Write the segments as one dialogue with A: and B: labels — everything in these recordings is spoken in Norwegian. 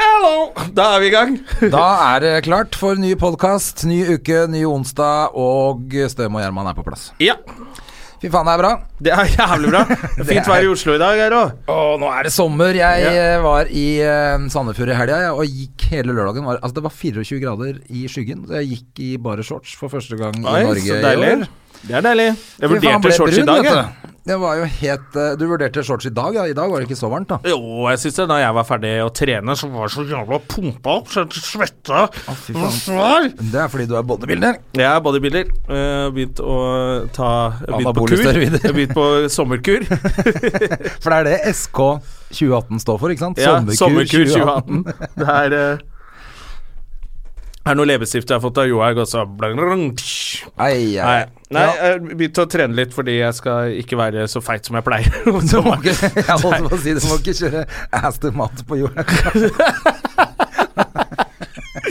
A: Hallo! Da er vi i gang.
B: Da er det klart for ny podkast, ny uke, ny onsdag, og Støm og Gjerman er på plass.
A: Ja,
B: Fy faen, det er bra.
A: det er jævlig bra. Fint vær i Oslo i dag her òg.
B: Å, nå er det sommer. Jeg eh, var i eh, Sandefjord i helga jeg, og gikk hele lørdagen. Var, altså, det var 24 grader i skyggen, så jeg gikk i bare shorts for første gang i Norge
A: Så
B: i
A: deilig.
B: år.
A: Det er deilig. Jeg
B: Fy faen,
A: vurderte
B: ble
A: shorts i
B: brun,
A: dag.
B: vet
A: jeg.
B: du. Det var jo helt eh, Du vurderte shorts i dag, ja. I dag var det ikke så varmt, da.
A: Jo, jeg syns det. Da jeg var ferdig å trene, så var jeg så jævla pumpa opp, så jeg svetta.
B: fy
A: Jeg
B: faen.
A: var svær.
B: Det er fordi du er bodybuilder.
A: Jeg er bodybuilder. Eh, Begynt å ta jeg har Begynt på
B: Anabole
A: kur.
B: steroider.
A: Jeg har Begynt på sommerkur.
B: For det er det SK 2018 står for, ikke sant?
A: Ja, sommerkur 2018. Det er eh, er noe leppestift jeg har fått av Johaug også. Blang, blang, psh.
B: Ai, ai.
A: Nei, nei
B: Ja.
A: jeg begynte å trene litt fordi jeg skal ikke være så feit som jeg pleier. om sommeren.
B: Ok, Jeg holdt på å si du må ikke kjøre ass to mat på jorda.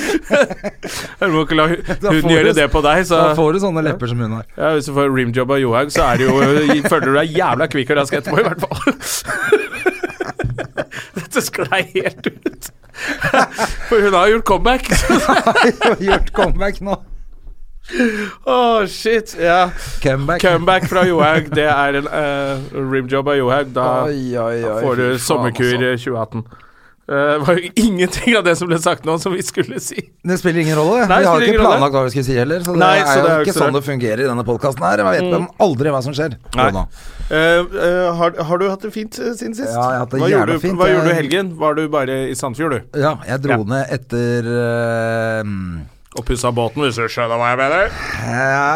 A: Du må ikke la hu-
B: Da
A: huden
B: får
A: gjøre
B: du-
A: det på deg. Så
B: Da får du sånne lepper som hun har.
A: ja, hvis du får rimjob av Johaug, så er det jo, føler du deg jævla kvikk og rask etterpå, i hvert fall. Dette sklei helt ut. For hun har gjort comeback.
B: Gjort comeback nå.
A: Å, shit. Ja.
B: Comeback.
A: Comeback fra Johaug, det er en eh, rimjob av Johaug. Da
B: Oi, oi, oi,
A: får du
B: fy faen,
A: sommerkur
B: altså.
A: eh, 2018. Eh, Det var jo ingenting av det som ble sagt nå, som vi skulle si.
B: Det spiller ingen rolle. vi
A: Nei, det
B: har
A: spiller
B: ikke
A: ingen rolle.
B: planlagt hva vi skulle si heller. Så det
A: Nei,
B: er
A: så
B: jo
A: det er jo
B: ikke
A: ikke så
B: sånn
A: rart.
B: det fungerer i denne podkasten her. Man vet man aldri hva som skjer.
A: Nei.
B: Jo da.
A: Eh, eh, har, har du hatt det fint eh, siden sist?
B: Ja, jeg har hatt det
A: hva
B: jævla
A: gjorde, du-
B: fint.
A: Hva
B: Jeg-
A: gjorde du i helgen? Var du bare i Sandfjord, du?
B: Ja, jeg dro
A: Ja.
B: ned etter eh,
A: Og pussa båten, hvis du skjønner hva jeg mener?
B: Ja,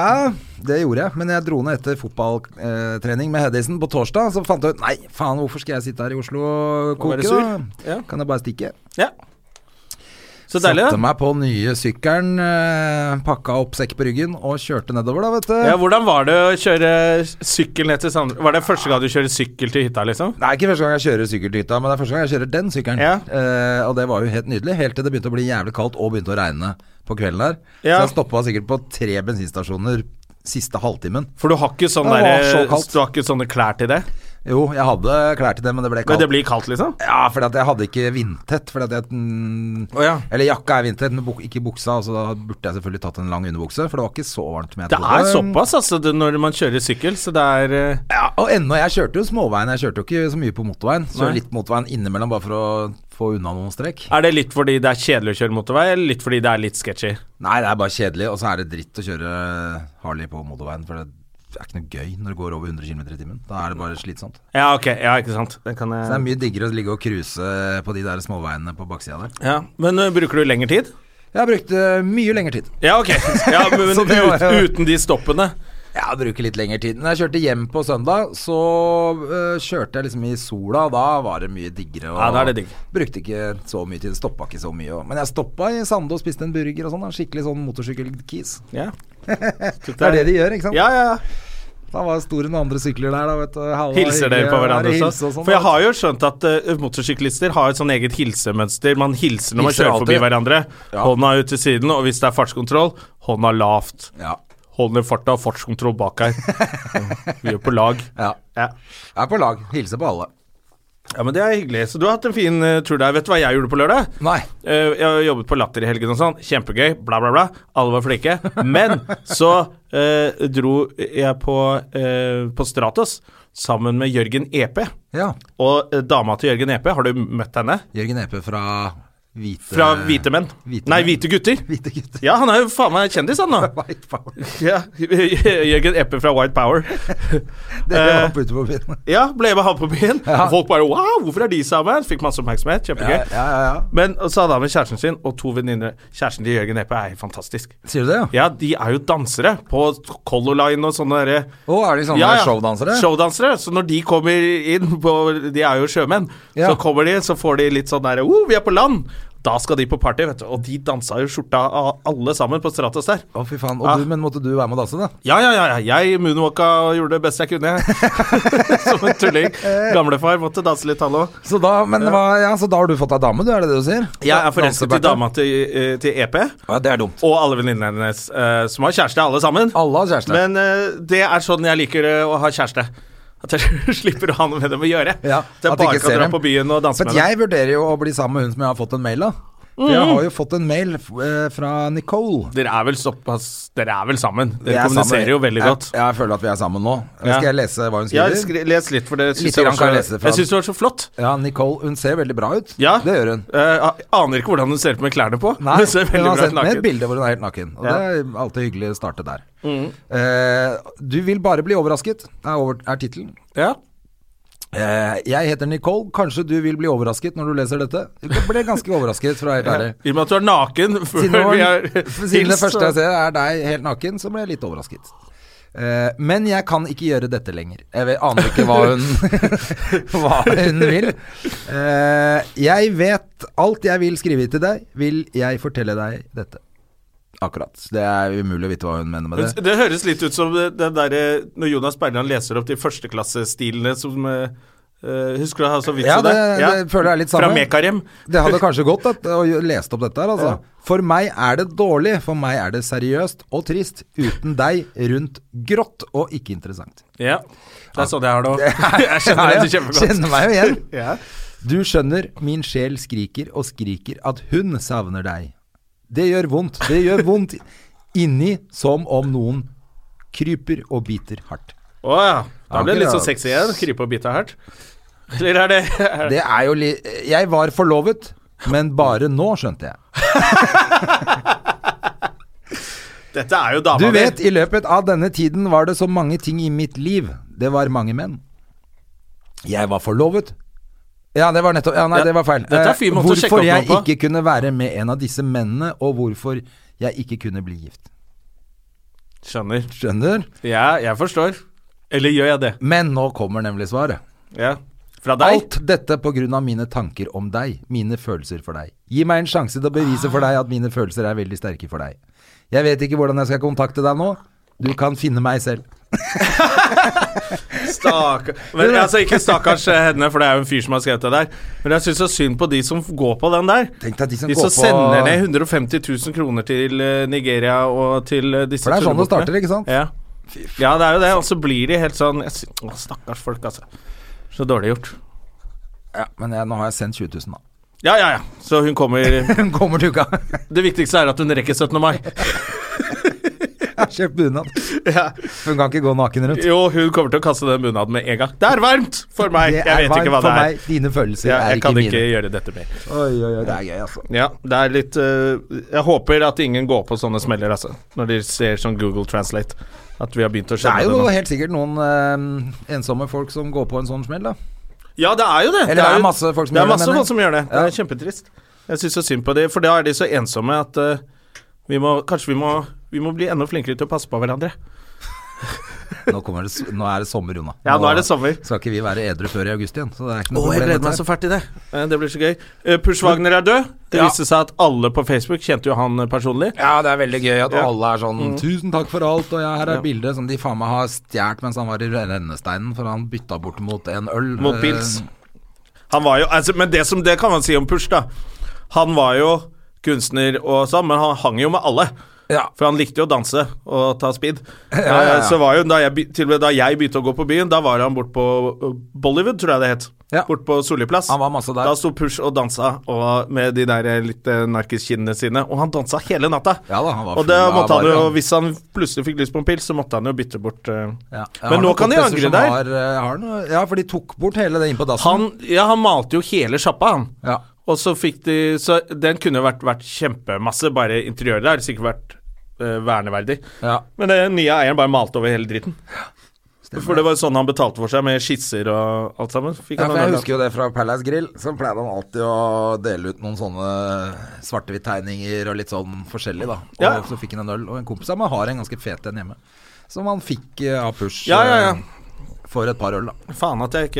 B: det gjorde jeg. Men jeg dro ned etter fotballtrening med Hedisen på torsdag. Så fant jeg ut Nei, faen, hvorfor skal jeg sitte her i Oslo og
A: Og være
B: koke,
A: sur.
B: da?
A: Ja.
B: Kan jeg bare stikke?
A: Ja. Så deilig,
B: Satte
A: da.
B: meg på nye sykkelen, eh, pakka opp sekk på ryggen og kjørte nedover, da, vet du.
A: Ja, hvordan var det å kjøre sykkel ned til Sandfjord? Var det første gang du kjører sykkel til hytta, liksom?
B: Det er ikke første gang jeg kjører sykkel til hytta, men det er første gang jeg kjører den sykkelen.
A: Ja.
B: Eh, og det var jo helt nydelig, helt til det begynte å bli jævlig kaldt og begynte å regne på kvelden der.
A: Ja.
B: Så jeg stoppa sikkert på tre bensinstasjoner siste halvtimen.
A: For du har ikke sånn
B: Det var
A: derre-
B: så kaldt.
A: du har ikke sånne klær til det?
B: Jo, jeg hadde klær til det, men det ble
A: Men
B: kaldt.
A: det blir kaldt, liksom?
B: Ja, fordi at jeg hadde ikke vindtett. Fordi at jeg, mm,
A: Å ja.
B: Eller jakka er vindtett, men buk ikke buksa. Så da burde jeg selvfølgelig tatt en lang underbukse, for det var ikke så varmt. Men jeg
A: Det
B: trodde.
A: er såpass, altså, det, når man kjører sykkel, så det er eh,
B: Ja, og ennå. Jeg kjørte jo småveien, jeg kjørte jo ikke så mye på motorveien. Så
A: Nei.
B: litt motorveien innimellom bare for å få unna noen strekk.
A: Er det litt fordi det er kjedelig å kjøre motorvei, eller litt fordi det er litt sketchy?
B: Nei, det er bare kjedelig, og så er det dritt å kjøre Harley på motorveien. For det er ikke noe gøy når det går over 100 km i timen. Da er det bare slitsomt.
A: Ja, ok, ja, ikke sant. Det kan
B: Så det er
A: jeg
B: mye diggere å ligge og cruise på de der småveiene på baksida der.
A: ja. Men eh, bruker du lengre tid?
B: Jeg brukte mye lengre tid.
A: Ja, ok. Ja, men
B: Så det var
A: ut,
B: jo-
A: uten de stoppene.
B: Ja, jeg bruker litt lengre tid. Når jeg kjørte hjem på søndag, så øh, kjørte jeg liksom i sola. og Da var det mye diggere. Og
A: Ja, da er det digg.
B: Brukte ikke så mye tid. Stoppa ikke så mye. Og, men jeg stoppa i Sande og spiste en burger og sånn. da, Skikkelig sånn motorsykkelkis.
A: Ja.
B: Det er det de gjør, ikke sant?
A: Ja, ja, ja.
B: Da var det store noen andre sykler der, da, vet du. Halla,
A: Hilser dere
B: hyggelig,
A: på
B: da var det
A: hverandre
B: hilse
A: også?
B: og sånn,
A: For jeg
B: da.
A: har jo skjønt at eh, motorsyklister har et sånn eget hilsemønster. Man hilser når man
B: Hilser
A: kjører
B: alltid.
A: forbi hverandre.
B: Ja.
A: Hånda ut til siden, og hvis det er fartskontroll, hånda lavt.
B: Ja.
A: Hånd i farta og fartskontroll bak her. Vi er på lag.
B: ja.
A: Ja.
B: Jeg er på lag. Hilser på alle.
A: ja, men det er hyggelig. Så du har hatt en fin eh, tur der. Vet du hva jeg gjorde på lørdag?
B: Nei.
A: Eh, jeg jobbet på Latter i helgen og sånn. Kjempegøy, bla, bla, bla. Alle var flinke. Men så eh, dro jeg på, eh, på Stratos sammen med Jørgen EP.
B: Ja.
A: Og eh, dama til Jørgen EP, har du møtt henne?
B: Jørgen Epe fra Hvite
A: Fra Hvite menn.
B: Hvite
A: Nei,
B: menn.
A: Hvite gutter.
B: Hvite gutter.
A: Ja, han er jo faen meg kjendis, han nå.
B: White Power.
A: Ja, Jørgen Eppe fra White Power.
B: Det
A: Eh.
B: var på ute på byen.
A: Ja, ble med han på byen.
B: Ja.
A: Og folk bare wow, hvorfor er de sammen? Fikk masse oppmerksomhet. Kjempegøy.
B: Ja, ja, ja.
A: Men og så hadde han med kjæresten sin og to venninner. Kjæresten til Jørgen Eppe er helt fantastisk.
B: Sier du det, ja?
A: Ja, de er jo dansere på Color Line og sånne derre
B: Å, er de sånne showdansere?
A: Showdansere. Så når de kommer inn på De er jo sjømenn.
B: Ja.
A: Så kommer de, så får de litt sånn derre oh, vi er på land! Da skal de på party, vet du. Og de dansa jo skjorta av alle sammen på Stratos der.
B: Å, fy faen. Og
A: Ah.
B: du, men måtte du være med og danse, da?
A: Ja, ja, ja. ja. Jeg moonwalka og gjorde det beste jeg kunne, jeg. Som en tulling. Gamlefar måtte danse litt, han òg.
B: Så da, men, hva- ja, så da har du fått deg dame, du? Er det det du sier?
A: Jeg er forelsket i
B: Danseberte.
A: dama til, eh, til EP,
B: Ja, det er dumt.
A: og alle venninnene hennes, eh, som har kjæreste, alle sammen.
B: Alle har kjæreste.
A: Men eh, det er sånn jeg liker eh, å ha kjæreste. At jeg slipper å ha noe med dem å gjøre.
B: Ja,
A: at jeg
B: at de
A: bare
B: ikke
A: kan
B: ser
A: dra
B: dem.
A: på byen og danse
B: Men
A: med dem. Mm.
B: jeg vurderer jo å bli sammen med hun som jeg har fått en mail av. For jeg har jo fått en mail eh, fra Nicole.
A: Dere er vel såpass Dere er vel sammen?
B: Vi er
A: Dere kommuniserer
B: sammen.
A: jo veldig godt.
B: Jeg, jeg føler at vi er sammen nå.
A: Ja.
B: Skal jeg lese hva hun
A: Ja,
B: skriver?
A: skri- les litt, for det
B: Litt
A: syns jeg, var
B: grann kan jeg
A: så-
B: lese fra
A: jeg synes det var så flott.
B: Ja, Nicole, hun ser veldig bra ut.
A: Ja.
B: Det gjør hun.
A: Eh, jeg aner ikke hvordan hun ser ut med klærne på.
B: Nei,
A: hun ser
B: hun har
A: veldig bra ut
B: sendt meg et
A: naken.
B: bilde hvor hun er helt naken. Og
A: Ja. Mm.
B: det er alltid hyggelig å starte der. Eh, du vil bare bli overrasket, er, over- er tittelen.
A: Ja.
B: Eh, jeg heter Nicole, kanskje du vil bli overrasket når du leser dette? Du ble ganske overrasket, for å være helt ærlig.
A: I og med at du er naken før
B: Siden, det
A: vi
B: var-
A: har
B: siden det
A: hilst,
B: første
A: så-
B: jeg ser er deg helt naken, så ble jeg litt overrasket. Eh, men jeg kan ikke gjøre dette lenger. Jeg vet, aner ikke hva hun, hva hun vil. Eh, jeg vet alt jeg vil skrive til deg, vil jeg fortelle deg dette. Akkurat. Det er umulig å vite hva hun mener med det.
A: Men Det høres litt ut som den derre når Jonas Berland leser opp de førsteklassestilene som eh, eh, Husker du han som vits
B: Ja,
A: om det?
B: det- det føler jeg er litt samme.
A: Fra Mekarem.
B: Det hadde kanskje gått at, å lese opp dette her, altså. For meg er det dårlig, for meg er det seriøst og trist. Uten deg rundt grått og ikke interessant.
A: Ja. Det er sånn jeg har det òg. Jeg kjenner
B: Ja,
A: det
B: ja.
A: kjempegodt.
B: Kjenner meg jo igjen.
A: Ja.
B: Du skjønner, min sjel skriker og skriker at hun savner deg. Det gjør vondt, det gjør vondt inni som om noen kryper og biter hardt.
A: Å ja. Da ble det litt
B: Akkurat.
A: sånn sexy igjen. Krype og bite hardt. Eller er det er
B: Det er jo li... Jeg var forlovet, men bare nå, skjønte jeg.
A: Dette er jo dama
B: Du
A: di.
B: vet, i løpet av denne tiden var det så mange ting i mitt liv. Det var mange menn. Jeg var forlovet. Ja, det var nettopp Ja, nei,
A: Ja,
B: det var feil.
A: dette er
B: Eh,
A: fin måte å sjekke
B: hvorfor
A: opp
B: jeg
A: noe på.
B: ikke kunne være med en av disse mennene, og hvorfor jeg ikke kunne bli gift.
A: Skjønner.
B: Skjønner?
A: Ja, jeg forstår. Eller gjør jeg det?
B: Men nå kommer nemlig svaret.
A: Ja. Fra deg?
B: Alt dette på grunn av mine tanker om deg, mine følelser for deg. Gi meg en sjanse til å bevise for deg at mine følelser er veldig sterke for deg. Jeg vet ikke hvordan jeg skal kontakte deg nå. Du kan finne meg selv.
A: Stakkar Men altså, ikke stakkars eh, henne, for det er jo en fyr som har skrevet det der. Men jeg syns så synd på de som går på den der.
B: Tenk deg de som
A: De
B: går
A: som
B: på
A: sender ned 150 000 kroner til eh, Nigeria og til eh, disse
B: For det er sånn det
A: tullebukene.
B: starter, ikke sant?
A: Ja. ja, det er jo det. Og så blir de helt sånn jeg sy- Å, Stakkars folk, altså. Så dårlig gjort.
B: Ja, men jeg, nå har jeg sendt 20 000, da.
A: Ja, ja, ja. Så hun kommer
B: Hun kommer til uka.
A: Det viktigste er at hun rekker 17. mai.
B: Kjøp bunad.
A: Ja.
B: Hun kan ikke gå naken rundt.
A: Jo, hun kommer til å kaste den bunaden med en gang. Det er varmt for meg!
B: Det
A: Jeg
B: er
A: vet
B: varmt
A: ikke hva
B: for
A: det er.
B: Meg. Dine følelser
A: Ja,
B: er
A: jeg
B: ikke
A: kan
B: mine.
A: ikke gjøre dette mer.
B: Oi, oi, oi, det er gøy, altså.
A: Ja, det er litt eh, Jeg håper at ingen går på sånne smeller, altså. Når de ser sånn Google Translate. At vi har begynt å
B: Det er
A: skjønne det,
B: jo
A: nå.
B: helt sikkert noen eh, ensomme folk som går på en sånn smell, da.
A: Ja, det er jo det.
B: Eller det er
A: jo-
B: masse folk som
A: det
B: gjør det,
A: er masse
B: mener jeg.
A: folk som gjør det. Det
B: Ja.
A: er kjempetrist. Jeg syns så synd på dem, for da er de så ensomme at eh, vi må, kanskje vi må, vi må bli enda flinkere til å passe på hverandre.
B: Nå, kommer det, s- nå er det sommer, Jonna.
A: Ja, nå er det sommer.
B: Skal ikke vi være edru før i august igjen, så det er ikke
A: Å,
B: noe
A: jeg
B: problem.
A: gleder meg
B: dette
A: så fælt til det. Eh, Det blir så gøy. Eh, Push Wagner er død. Det
B: Ja.
A: viste seg at alle på Facebook kjente jo han eh, personlig.
B: her. Ja, det er veldig gøy at
A: Ja. Mm.
B: alle er sånn 'Tusen takk for alt', og ja, her er bildet som de faen meg har stjålet mens han var i rennesteinen, for han bytta bort mot en øl.
A: Mot
B: Eh,
A: pils. Han var jo altså, Men det, som, det kan man si om Push, da. Han var jo kunstner og sånn, men han hang jo med alle.
B: Ja.
A: For han likte jo å danse og ta speed.
B: ja, ja.
A: Eh, Så var jo da jeg, be- til og med da jeg begynte å gå på byen, da var han bort på eh, Bollywood, tror jeg det het.
B: Ja.
A: Bort på Solli plass.
B: Han var masse der.
A: Da sto Push og dansa og med de der eh, litt eh, narkiskinnene sine, og han dansa hele natta.
B: Ja da, han var
A: og det
B: full av
A: måtte han
B: varer,
A: jo,
B: han.
A: hvis han plutselig fikk lyst på en pils, så måtte han jo bytte bort eh.
B: Ja. Jeg har
A: Men nå
B: noen
A: kan de
B: kompiser
A: angre
B: som
A: der.
B: Har, eh, har noe, ja, for de tok bort hele det inn på dassen.
A: Han, ja, han malte jo hele sjappa, han.
B: Ja.
A: Og så fikk de Så den kunne jo vært, vært kjempemasse, bare interiøret der. Sikkert vært eh, verneverdig.
B: Ja.
A: Men den nye eieren bare malte over hele dritten. For det var jo sånn han betalte for seg, med skisser og alt sammen. Fikk
B: Ja,
A: han
B: for
A: en
B: jeg
A: del av.
B: husker jo det fra Palace Grill. Så pleide han alltid å dele ut noen sånne svarte-hvitt-tegninger og litt sånn forskjellig, da. Og
A: Ja.
B: så fikk han en øl, og en kompis av meg har en ganske fet en hjemme. Som han fikk eh, av push.
A: Ja, ja, ja.
B: eh, for et par øl, da.
A: Faen at jeg ikke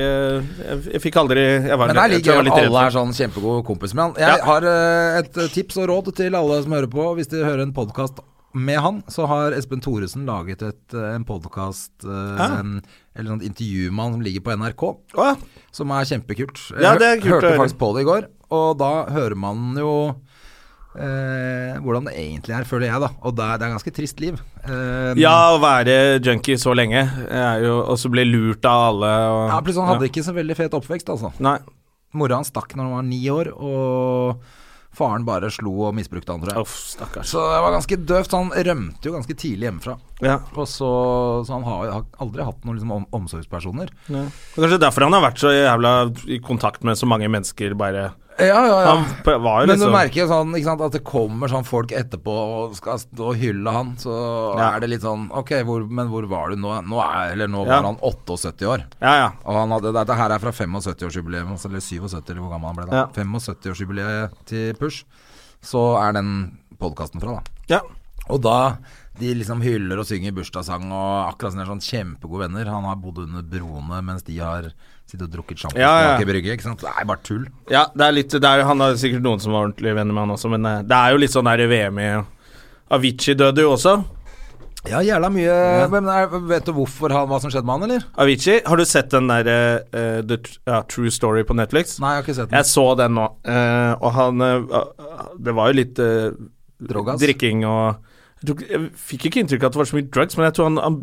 A: Jeg, jeg fikk aldri Jeg var,
B: Men det er
A: jeg
B: like
A: tror jeg var
B: gøy at alle
A: redd
B: er
A: for-
B: sånn kjempegode kompis med han. Jeg
A: Ja.
B: har eh, et tips og råd til alle som hører på. Hvis de hører en podkast med han, så har Espen Thoresen laget et, eh, en podkast
A: Ja.
B: Eller sånn intervju med han som ligger på NRK,
A: Å, ja.
B: som er kjempekult. Jeg
A: Ja, det er kult å
B: hørte
A: høre.
B: faktisk på det i går, og da hører man jo eh, hvordan det egentlig er, føler jeg, da. Og det er, det er ganske trist liv. Eh,
A: Ja, å være junkie så lenge, er jo, og så bli lurt av alle og,
B: ja, plutselig han hadde ikke så veldig fet oppvekst, altså.
A: Nei.
B: Mora hans stakk når han var ni år, og faren bare slo og misbrukte han, tror jeg.
A: Uff, stakkars.
B: Så det var ganske døvt. Han rømte jo ganske tidlig hjemmefra.
A: Ja.
B: Og så, så han har, har aldri hatt noen liksom, om, omsorgspersoner.
A: Det er kanskje derfor han har vært så jævla i kontakt med så mange mennesker, bare
B: Ja, ja, ja.
A: Han p- var jo
B: Men du
A: liksom
B: merker jo sånn ikke sant, at det kommer sånn folk etterpå og skal stå og hylle han. Så
A: Ja.
B: er det litt sånn Ok, hvor, men hvor var du nå? Nå, er, eller nå
A: Ja.
B: var han 78 år.
A: Ja, ja.
B: Og han hadde, dette her er fra 75-årsjubileet, altså, eller 77, eller hvor gammel han ble da.
A: Ja.
B: 75-årsjubileet til Push. Så er den podkasten fra, da.
A: ja.
B: Og da de liksom hyller og synger bursdagssang og akkurat som de er sånn kjempegode venner. Han har bodd under broene mens de har sittet og drukket sjampis
A: Ja, ja.
B: bak i brygge. Ikke sant? Det er bare tull.
A: Ja, det er litt det er, Han har sikkert noen som var ordentlige venner med han også, men eh, det er jo litt sånn der i VM i Avicii døde jo også.
B: Ja, jævla mye Men er, Vet du hvorfor han, hva som skjedde med han, eller?
A: Avicii, har du sett den der eh, eh, The Tr- ja, True Story på Netflix?
B: Nei, jeg har ikke sett den.
A: Jeg så den nå, eh, og han eh, Det var jo litt eh,
B: Drogas?
A: drikking og jeg, tror ikke- jeg fikk ikke inntrykk av at det var så mye drugs, men jeg tror han, han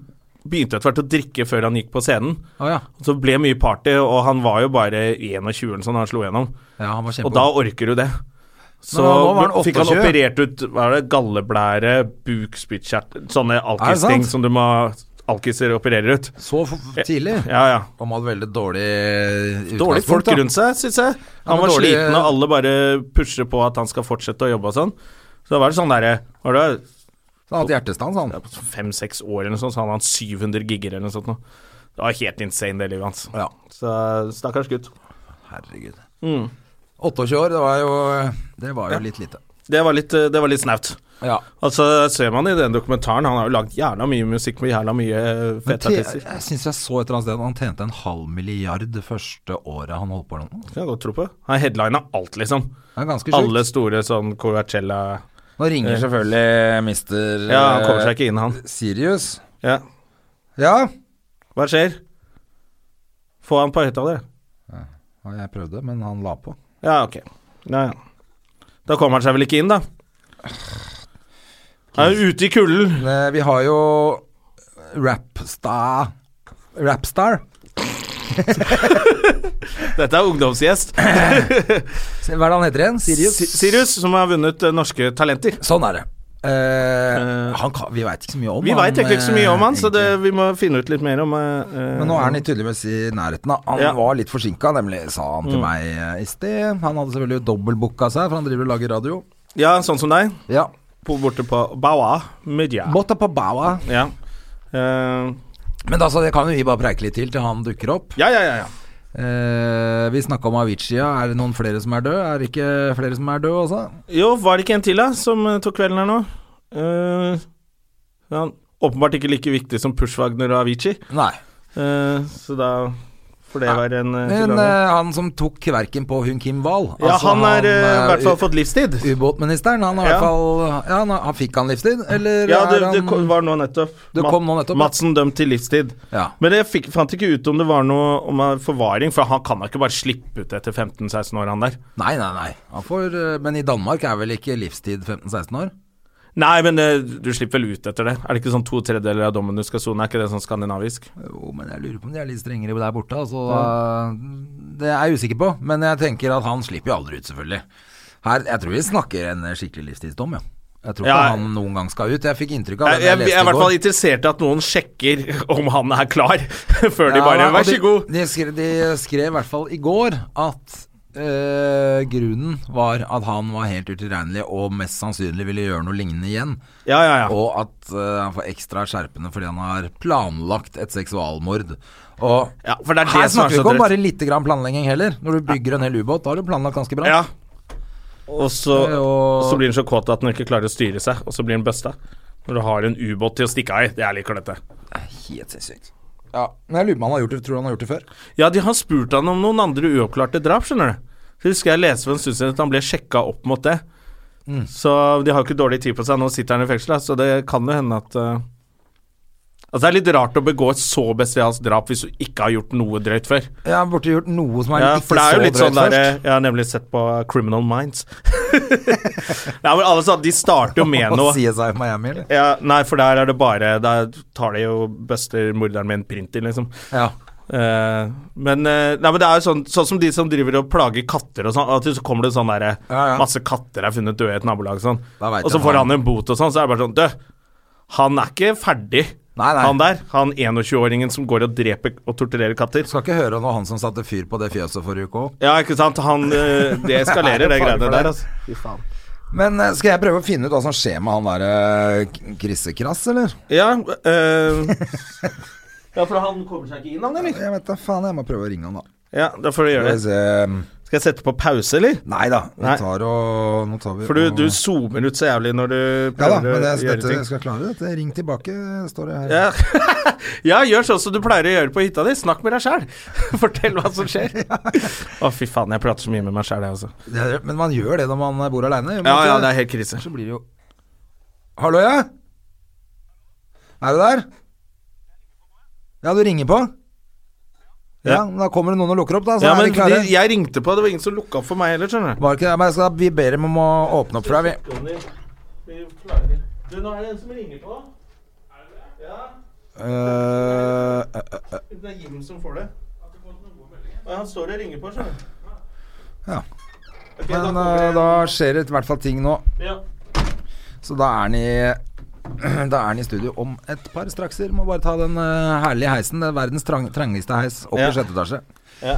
A: begynte etter hvert å drikke før han gikk på scenen.
B: Å ja.
A: Og Så ble det mye party, og han var jo bare 21 eller sånn da han slo gjennom.
B: ja. Han var
A: Og da
B: kjempegod.
A: orker du det. Så
B: Men nå var han
A: fikk han
B: 28.
A: operert ut hva er det, galleblære, buk, spyttkjertel Sånne
B: Er det sant?
A: alkisting som du må Alkiser opererer ut.
B: Så f tidlig.
A: Ja, ja.
B: Han hadde veldig dårlig
A: Dårlig folk rundt seg, syns jeg. Han
B: men
A: var
B: dårlig-
A: sliten, og alle bare pusher på at han skal fortsette å jobbe og sånn. Så da var det sånn derre Var det
B: Han hadde hjertestans, han.
A: fem-seks år eller noe sånt, så hadde han 700 gigger eller noe sånt nå. Det var helt insane, det livet hans.
B: Ja.
A: Så stakkars gutt.
B: Herregud.
A: Mm.
B: 28 år, det var jo Det var jo litt lite.
A: Det var litt, eh, det var litt snaut.
B: Ja.
A: Altså, ser man i den dokumentaren, han har jo lagd jævla mye musikk med jævla mye eh,
B: Men
A: fete
B: te-
A: artister.
B: jeg syns jeg så et eller annet sted at han tjente en halv milliard det første året han holdt på. eller noe.
A: Kan jeg godt tro på. Han headlina alt, liksom.
B: Det er ganske sjukt.
A: Alle store sånn Coachella
B: Nå ringer selvfølgelig mister eh,
A: Ja, han kommer seg ikke inn, han.
B: Sirius.
A: Ja.
B: Ja,
A: Hva skjer? Få han på høyttaler.
B: ja, jeg prøvde, men han la på.
A: Ja, ok. Ja, ja. Da kommer han seg vel ikke inn, da? Han er jo ute i kulden.
B: Eh, Vi har jo Rapstar Rapstar.
A: Dette er ungdomsgjest.
B: Hva er det han heter igjen? Sirius?
A: Si- Sirius, som har vunnet eh, Norske Talenter.
B: Sånn er det. Eh,
A: Eh,
B: han kan, vi veit ikke så mye om eh,
A: Vi veit egentlig ikke så mye om han, så det,
B: egentlig.
A: vi må finne ut litt mer om eh, eh,
B: Men nå er han i tydeligvis i nærheten. Da. Han
A: Ja. Mm.
B: var litt forsinka, nemlig, sa han til meg eh, i sted. Han hadde selvfølgelig dobbeltbooka seg, for han driver og lager radio.
A: Ja, sånn som deg.
B: Ja.
A: På, borte på Bawa Media.
B: Botta på bawa.
A: Ja. Eh,
B: Men altså, det kan jo vi bare preike litt til til han dukker opp.
A: ja, ja, ja, ja.
B: Eh, vi snakka om Avicii. ja. Er det noen flere som er døde? Er det ikke flere som er døde også?
A: Jo, var det ikke en til da, som eh, tok kvelden her nå? Eh, ja, åpenbart ikke like viktig som Pushwagner og Avicii,
B: Nei.
A: Eh, så da får det
B: Nei.
A: være en eh,
B: Men
A: tilgang.
B: eh, han som tok kverken på Hun Kim Wahl
A: Ja,
B: altså,
A: han er eh, i
B: eh,
A: hvert fall
B: u-
A: fått livstid.
B: Ubåtministeren, han har i
A: Ja.
B: hvert fall ja, han, har- han Fikk han livstid, eller
A: Ja, det,
B: er han
A: det kom- var nå nettopp.
B: Det
A: Ma-
B: kom nå nettopp, ja.
A: Madsen dømt til livstid.
B: Ja.
A: Men jeg fikk, fant ikke ut om det var noe om eh, forvaring, for han kan da ikke bare slippe ut etter 15-16 år, han der.
B: Nei, nei, nei. Han får, eh, men i Danmark er vel ikke livstid 15-16 år?
A: Nei, men eh, du slipper vel ut etter det. Er det ikke sånn to tredjedeler av dommen du skal sone? Er ikke det sånn skandinavisk?
B: Jo, men jeg lurer på om de er litt strengere der borte. Altså, da- Det er jeg usikker på, men jeg tenker at han slipper jo aldri ut, selvfølgelig. Her, jeg tror vi snakker en skikkelig livstidsdom, ja. Jeg tror ikke
A: Ja, jeg-
B: han noen gang skal ut. Jeg fikk inntrykk av
A: Jeg,
B: det da
A: jeg, jeg er i
B: leste i
A: hvert fall
B: går.
A: interessert i at noen sjekker om han er klar, før de
B: Ja,
A: bare
B: og
A: Vær så
B: de-
A: god.
B: De skrev, de skrev i hvert fall i går at eh, grunnen var at han var helt utilregnelig og mest sannsynlig ville gjøre noe lignende igjen.
A: Ja, ja, ja.
B: Og at eh, han får ekstra skjerpende fordi han har planlagt et seksualmord. Og
A: Ja, for det er
B: her
A: det som er
B: snakker vi
A: så
B: ikke om
A: drøyt.
B: bare lite grann planlegging heller. Når du bygger en hel ubåt, da har du planlagt ganske bra.
A: Ja. Og så,
B: Det er jo-
A: så blir han så kåt at han ikke klarer å styre seg, og så blir han busta. Når du har en ubåt til å stikke av i. Det er litt klønete.
B: Helt sinnssykt. Ja, men jeg lurer på om han har gjort det, tror du han har gjort det før?
A: Ja, de har spurt han om noen andre uoppklarte drap, skjønner du. Så husker jeg leste for en stund siden at han ble sjekka opp mot det.
B: Mm.
A: Så de har jo ikke dårlig tid på seg, nå sitter han i fengsel, da, så det kan jo hende at eh, Altså, det er litt rart å begå et så bestialsk drap hvis du ikke har gjort noe drøyt før.
B: Ja, han burde gjort noe som er
A: Ja,
B: ikke
A: for det er jo
B: så
A: litt sånn
B: drøyt
A: der
B: først.
A: Jeg har nemlig sett på Criminal Minds. Nei, men alle sa at de starter jo med
B: Hva
A: noe.
B: sier seg i Miami, eller?
A: Ja, nei, for der er det bare Der tar de jo buster morderen med en printer, liksom.
B: Ja.
A: Eh, men, eh, nei, men det er jo sånn, sånn som de som driver og plager katter og sånn. At så kommer det sånn derre
B: Ja, ja.
A: Masse katter er funnet døde i et nabolag og sånn.
B: Da vet
A: Og så
B: jeg
A: får
B: han-
A: han en bot og sånn, så er det bare sånn Død! Han er ikke ferdig,
B: Nei, nei.
A: han der. Han 21-åringen som går og dreper og torturerer katter.
B: Skal ikke høre noe han som satte fyr på det fjøset forrige uke òg.
A: Ja, ikke sant. Han eh, Det
B: Det er
A: eskalerer, det
B: fare
A: greiene
B: for det.
A: der, altså. Fy faen.
B: Men eh, skal jeg prøve å finne ut hva som skjer med han eh, derre Krisekrass, eller?
A: Ja, eh, ja, for han kommer seg ikke inn, han, eller?
B: Jeg vet da faen, jeg må prøve å ringe han, da.
A: Ja, da får du
B: Skal
A: gjøre
B: vi
A: det.
B: se. eh,
A: Skal jeg sette på pause, eller?
B: Nei da, vi
A: Nei.
B: tar og Nå tar vi
A: For du,
B: og-
A: du zoomer ut så jævlig når du
B: Ja da,
A: prøver
B: men det,
A: å gjøre
B: dette,
A: ting.
B: jeg skal klare dette. Ring tilbake, står det her.
A: Ja. ja, gjør sånn som du pleier å gjøre på hytta di. Snakk med deg sjæl. Fortell hva som skjer. Å, fy faen, jeg prater så mye med meg sjæl, jeg altså. også.
B: Det- Men man gjør det når man bor aleine.
A: Ja, ja, det er helt krise.
B: Så blir det jo Hallo, ja? Er du der? Ja, du ringer på? Ja,
A: Ja.
B: men da kommer det noen og lukker opp, da. Så
A: Ja,
B: er
A: men
B: vi klare.
A: de, jeg ringte på, det var ingen som lukka opp for meg heller, skjønner du.
B: Var det ikke det? Men jeg skal, vi ber dem om å åpne opp for deg, vi.
A: Du, nå er det en som ringer på. Ja,
B: Eh, eh, eh, eh.
A: det er Jim som får det. Han står og ringer på, skjønner du.
B: Ja. men eh, da skjer det i hvert fall ting nå. Så da er han i da er han i studio om et par strakser. Må bare ta den eh, herlige heisen. Det er verdens trang, trangeste heis opp
A: Ja.
B: i sjette etasje.
A: Ja.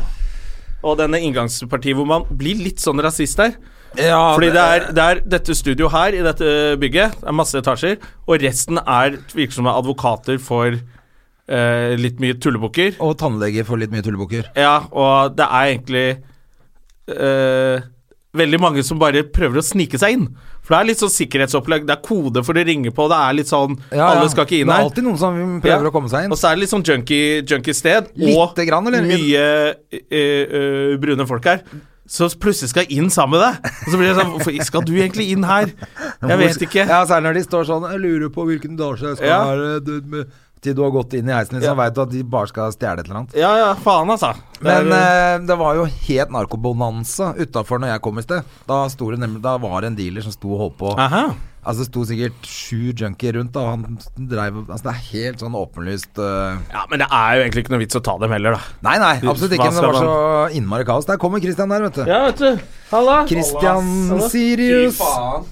A: Og denne inngangspartiet hvor man blir litt sånn rasist der.
B: Ja,
A: Fordi det er, det er dette studio her i dette bygget, det er masse etasjer, og resten er virker som er advokater for eh, litt mye tullebukker.
B: Og tannlege får litt mye tullebukker.
A: Ja, og det er egentlig eh, veldig mange som bare prøver å snike seg inn. For det er litt sånn sikkerhetsopplegg, det er kode for å ringe på, det er litt sånn Alle skal ikke inn
B: Det er
A: her.
B: alltid noen som prøver
A: Ja.
B: å komme seg inn.
A: Og så er det litt sånn junkie, junkie sted. og
B: Lite grann, eller?
A: mye eh, eh, brune folk her. Så plutselig skal jeg inn sammen med deg. Og så blir det sånn Hvorfor skal du egentlig inn her? Jeg vet ikke.
B: Ja, Særlig når de står sånn Jeg lurer på hvilken etasje jeg skal
A: Ja.
B: være du, med- Til du har gått inn i heisen, liksom,
A: Ja.
B: veit du at de bare skal stjele et eller annet.
A: Ja ja, faen, altså. Det er-
B: Men eh, det var jo helt narkobonanza utafor når jeg kom i sted. Da, sto det nemlig, da var det en dealer som sto og holdt på.
A: Aha.
B: Altså Det sto sikkert sju junkier rundt, da. og Han dreiv altså, Det er helt sånn åpenlyst eh,
A: Ja, men det er jo egentlig ikke noe vits å ta dem heller, da.
B: Nei, nei, absolutt ikke.
A: Hva
B: Men det
A: skal
B: var så innmari kaos. Der kommer Christian der, vet du.
A: Ja, vet du. Halla.
B: Christian Sirius.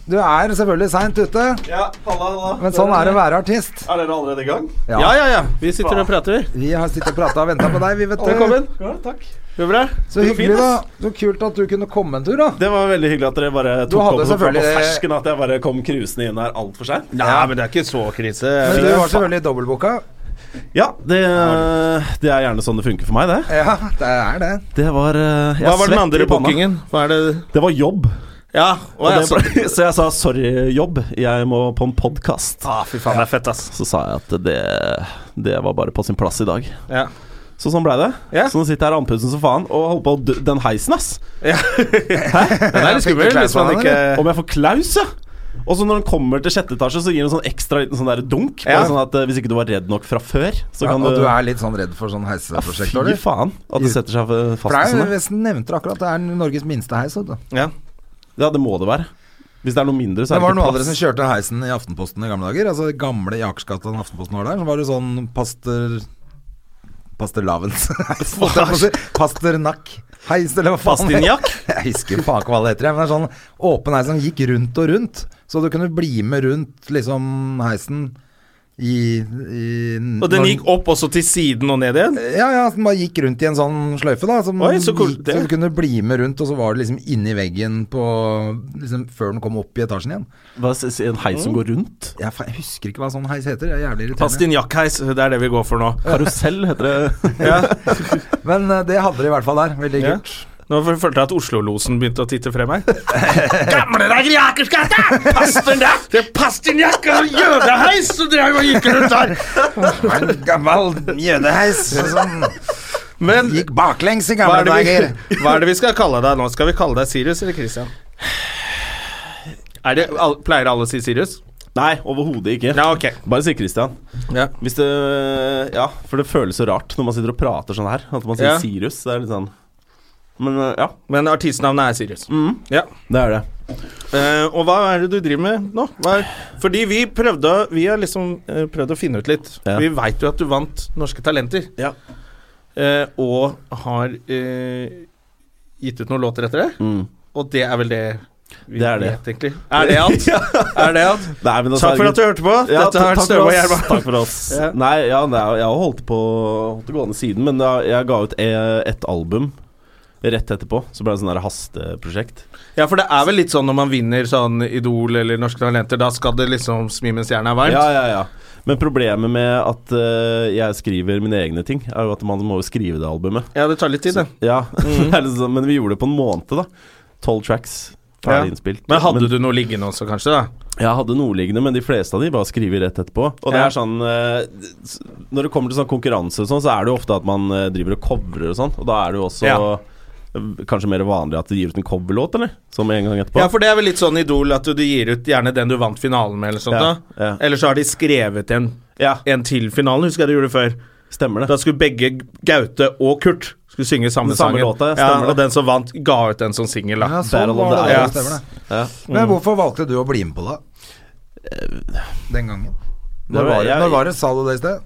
B: Du er selvfølgelig seint ute,
A: Ja, halla, halla.
B: men sånn er det å være artist.
A: Er dere allerede i gang?
B: Ja.
A: Ja, ja, ja. Vi sitter og prater.
B: Vi har sittet og prata og venta på deg, vi, vet du.
A: Velkommen. Ja, takk. Går det bra?
B: Så
A: Det går
B: hyggelig,
A: fint,
B: da.
A: ass.
B: Så kult at du kunne komme en tur, da.
C: Det var veldig hyggelig at dere bare
B: Du
C: tok
B: hadde
C: opp det fra på
B: selvfølgelig-
C: fersken at jeg bare kom krusende inn her altfor seint.
A: Nei, men det er ikke så krise.
B: Men du var selvfølgelig dobbeltbooka.
C: Ja, det, det er gjerne sånn det funker for meg, det.
B: Ja, det er det.
C: Det var eh, jeg
A: Hva var den
C: svett i
A: andre
C: panna.
A: bookingen? Hva er det
C: Det var jobb.
A: Ja,
C: Og
A: og jeg
C: det
A: så
C: ble, så jeg sa 'sorry, jobb, jeg må på en podkast'.
A: Ah, fy faen, det er fett, ass.
C: Så sa jeg at det, det var bare på sin plass i dag.
A: Ja.
C: Så sånn blei det.
A: Ja.
C: Så nå sitter jeg her andpusten som faen og holder på å dø Den heisen, ass.
A: Den er litt skummel hvis man ikke
C: Om jeg får klaus, ja! Eh, Og så når den kommer til sjette etasje, så gir den en sånn ekstra liten sånn der dunk.
A: Ja.
C: Bare Sånn at eh, Hvis ikke du var redd nok fra før, så
B: Ja,
C: kan
B: og
C: du
B: du er litt sånn redd for sånn
C: Ja,
B: heiseprosjekt,
C: Fy
B: eller?
C: faen, at det setter seg eh,
B: For
C: fast
B: det er,
C: sånn. ja.
B: jeg nevnte akkurat, det er Norges minste heis. vet du.
A: ja.
C: Ja, det må det være. Hvis det er noe mindre, så
B: Det
C: er det,
B: var noen
C: ikke
B: andre som
C: plass.
B: kjørte heisen i Aftenposten i gamle dager. Altså det gamle i Akersgata da Aftenposten var der. Så var det sånn paster... Pastelavens heis. holdt jeg på å si. Pasternakk-heis, eller hva faen. det het.
A: Pastinjakk?
B: Jeg husker faen ikke hva det heter, jeg, men det er sånn åpen heis som gikk rundt og rundt. Så du kunne bli med rundt liksom heisen i, i
A: Og den gikk opp også til siden og ned igjen?
B: Ja, ja, den bare gikk rundt i en sånn sløyfe, da. Som
A: Oi, så cool.
B: gikk,
A: Det-
B: så du kunne bli med rundt, og så var det liksom inni veggen på liksom, Før den kom opp i etasjen igjen.
C: Hva, s- s- en heis som går rundt?
B: Jeg, fa- jeg husker ikke hva sånn heis heter. Det er jævlig irriterende.
A: Pastinjakk-heis, det er det vi går for nå.
C: Karusell heter det.
A: Ja.
B: Men eh, det hadde de i hvert fall der. Veldig
A: Ja.
B: kult.
A: Nå f- følte jeg at Oslo-losen begynte å titte frem her. Gamle dager i Akersgata! Pastinjakk! Det er pastinjakk og jødeheis som drev og gikk rundt der!
B: En gammel jødeheis som
A: Men
B: sånn- gikk baklengs i
A: hva
B: gamle
A: er, det
B: dager.
A: vi, hva er det vi skal kalle deg nå? Skal vi kalle deg Sirius eller Christian? Er det, al- pleier alle å si Sirius?
C: Nei, overhodet ikke.
A: Ja, ok.
C: Bare si Christian.
A: Ja.
C: Hvis det Ja, for det føles så rart når man sitter og prater sånn her. At man sier
A: Ja.
C: Sirius. Det er litt sånn Men eh, ja,
A: Men artistnavnet er Sirius. Ja.
C: det er det.
A: Eh, og hva er det du driver med nå? Hva er, fordi vi prøvde å- Vi har liksom eh, prøvd å finne ut litt.
C: Ja.
A: Vi veit jo at du vant Norske Talenter.
C: Ja.
A: Eh, og har eh, gitt ut noen låter etter det.
C: Mm.
A: Og det er vel det vi
C: Det er det.
A: vet, egentlig. Er det alt? er det alt?
C: Nei, men altså,
A: Takk for at du hørte på.
C: Ja,
A: Dette har
C: takk
A: vært
C: for
A: Støve og
C: oss.
A: Gjerman.
C: Takk for oss.
A: Ja.
C: Nei, ja, det er, jeg har holdt på holdt det gående siden, men da, jeg ga ut e- et album rett etterpå. Så ble det sånn der hasteprosjekt.
A: Ja, for det er vel litt sånn når man vinner sånn Idol eller Norske Talenter, da skal det liksom smi mens jernet er varmt.
C: Ja, ja, ja. Men problemet med at eh, jeg skriver mine egne ting, er jo at man må jo skrive det albumet.
A: Ja, det tar litt tid, det.
C: Ja, det er litt sånn, Men vi gjorde det på en måned, da. Tolv tracks. Ferdig
A: Ja.
C: innspilt.
A: Men hadde du noe liggende også, kanskje? da?
C: Jeg hadde noe liggende, men de fleste av de var skrevet rett etterpå. Og det
A: Ja.
C: er sånn eh, s- Når det kommer til sånn konkurranse og sånn, så er det jo ofte at man eh, driver og covrer og sånn. Og da er det jo også
A: Ja.
C: eh, kanskje mer vanlig at de gir ut en coverlåt, eller? Som en gang etterpå.
A: Ja, for det er vel litt sånn Idol at du, du gir ut gjerne den du vant finalen med, eller sånt
C: Ja,
A: da.
C: ja.
A: Eller så har de skrevet en,
C: Ja,
A: en til finalen, husker jeg du gjorde før.
C: stemmer
A: Da
C: det.
A: skulle begge Gaute og Kurt skulle synge samme,
C: Den samme
A: sangen.
C: låta,
A: ja,
C: ja, stemmer det.
A: og den som vant, ga ut den som singel, da.
B: Ja, sånn
C: Battle of
B: var
C: the
B: det, ja. Mm.
A: Islands.
B: stemmer det.
C: Ja.
B: Men hvorfor valgte du å bli med på det? Den gangen. Når var det,
C: jeg-
B: når var det sa du det i sted?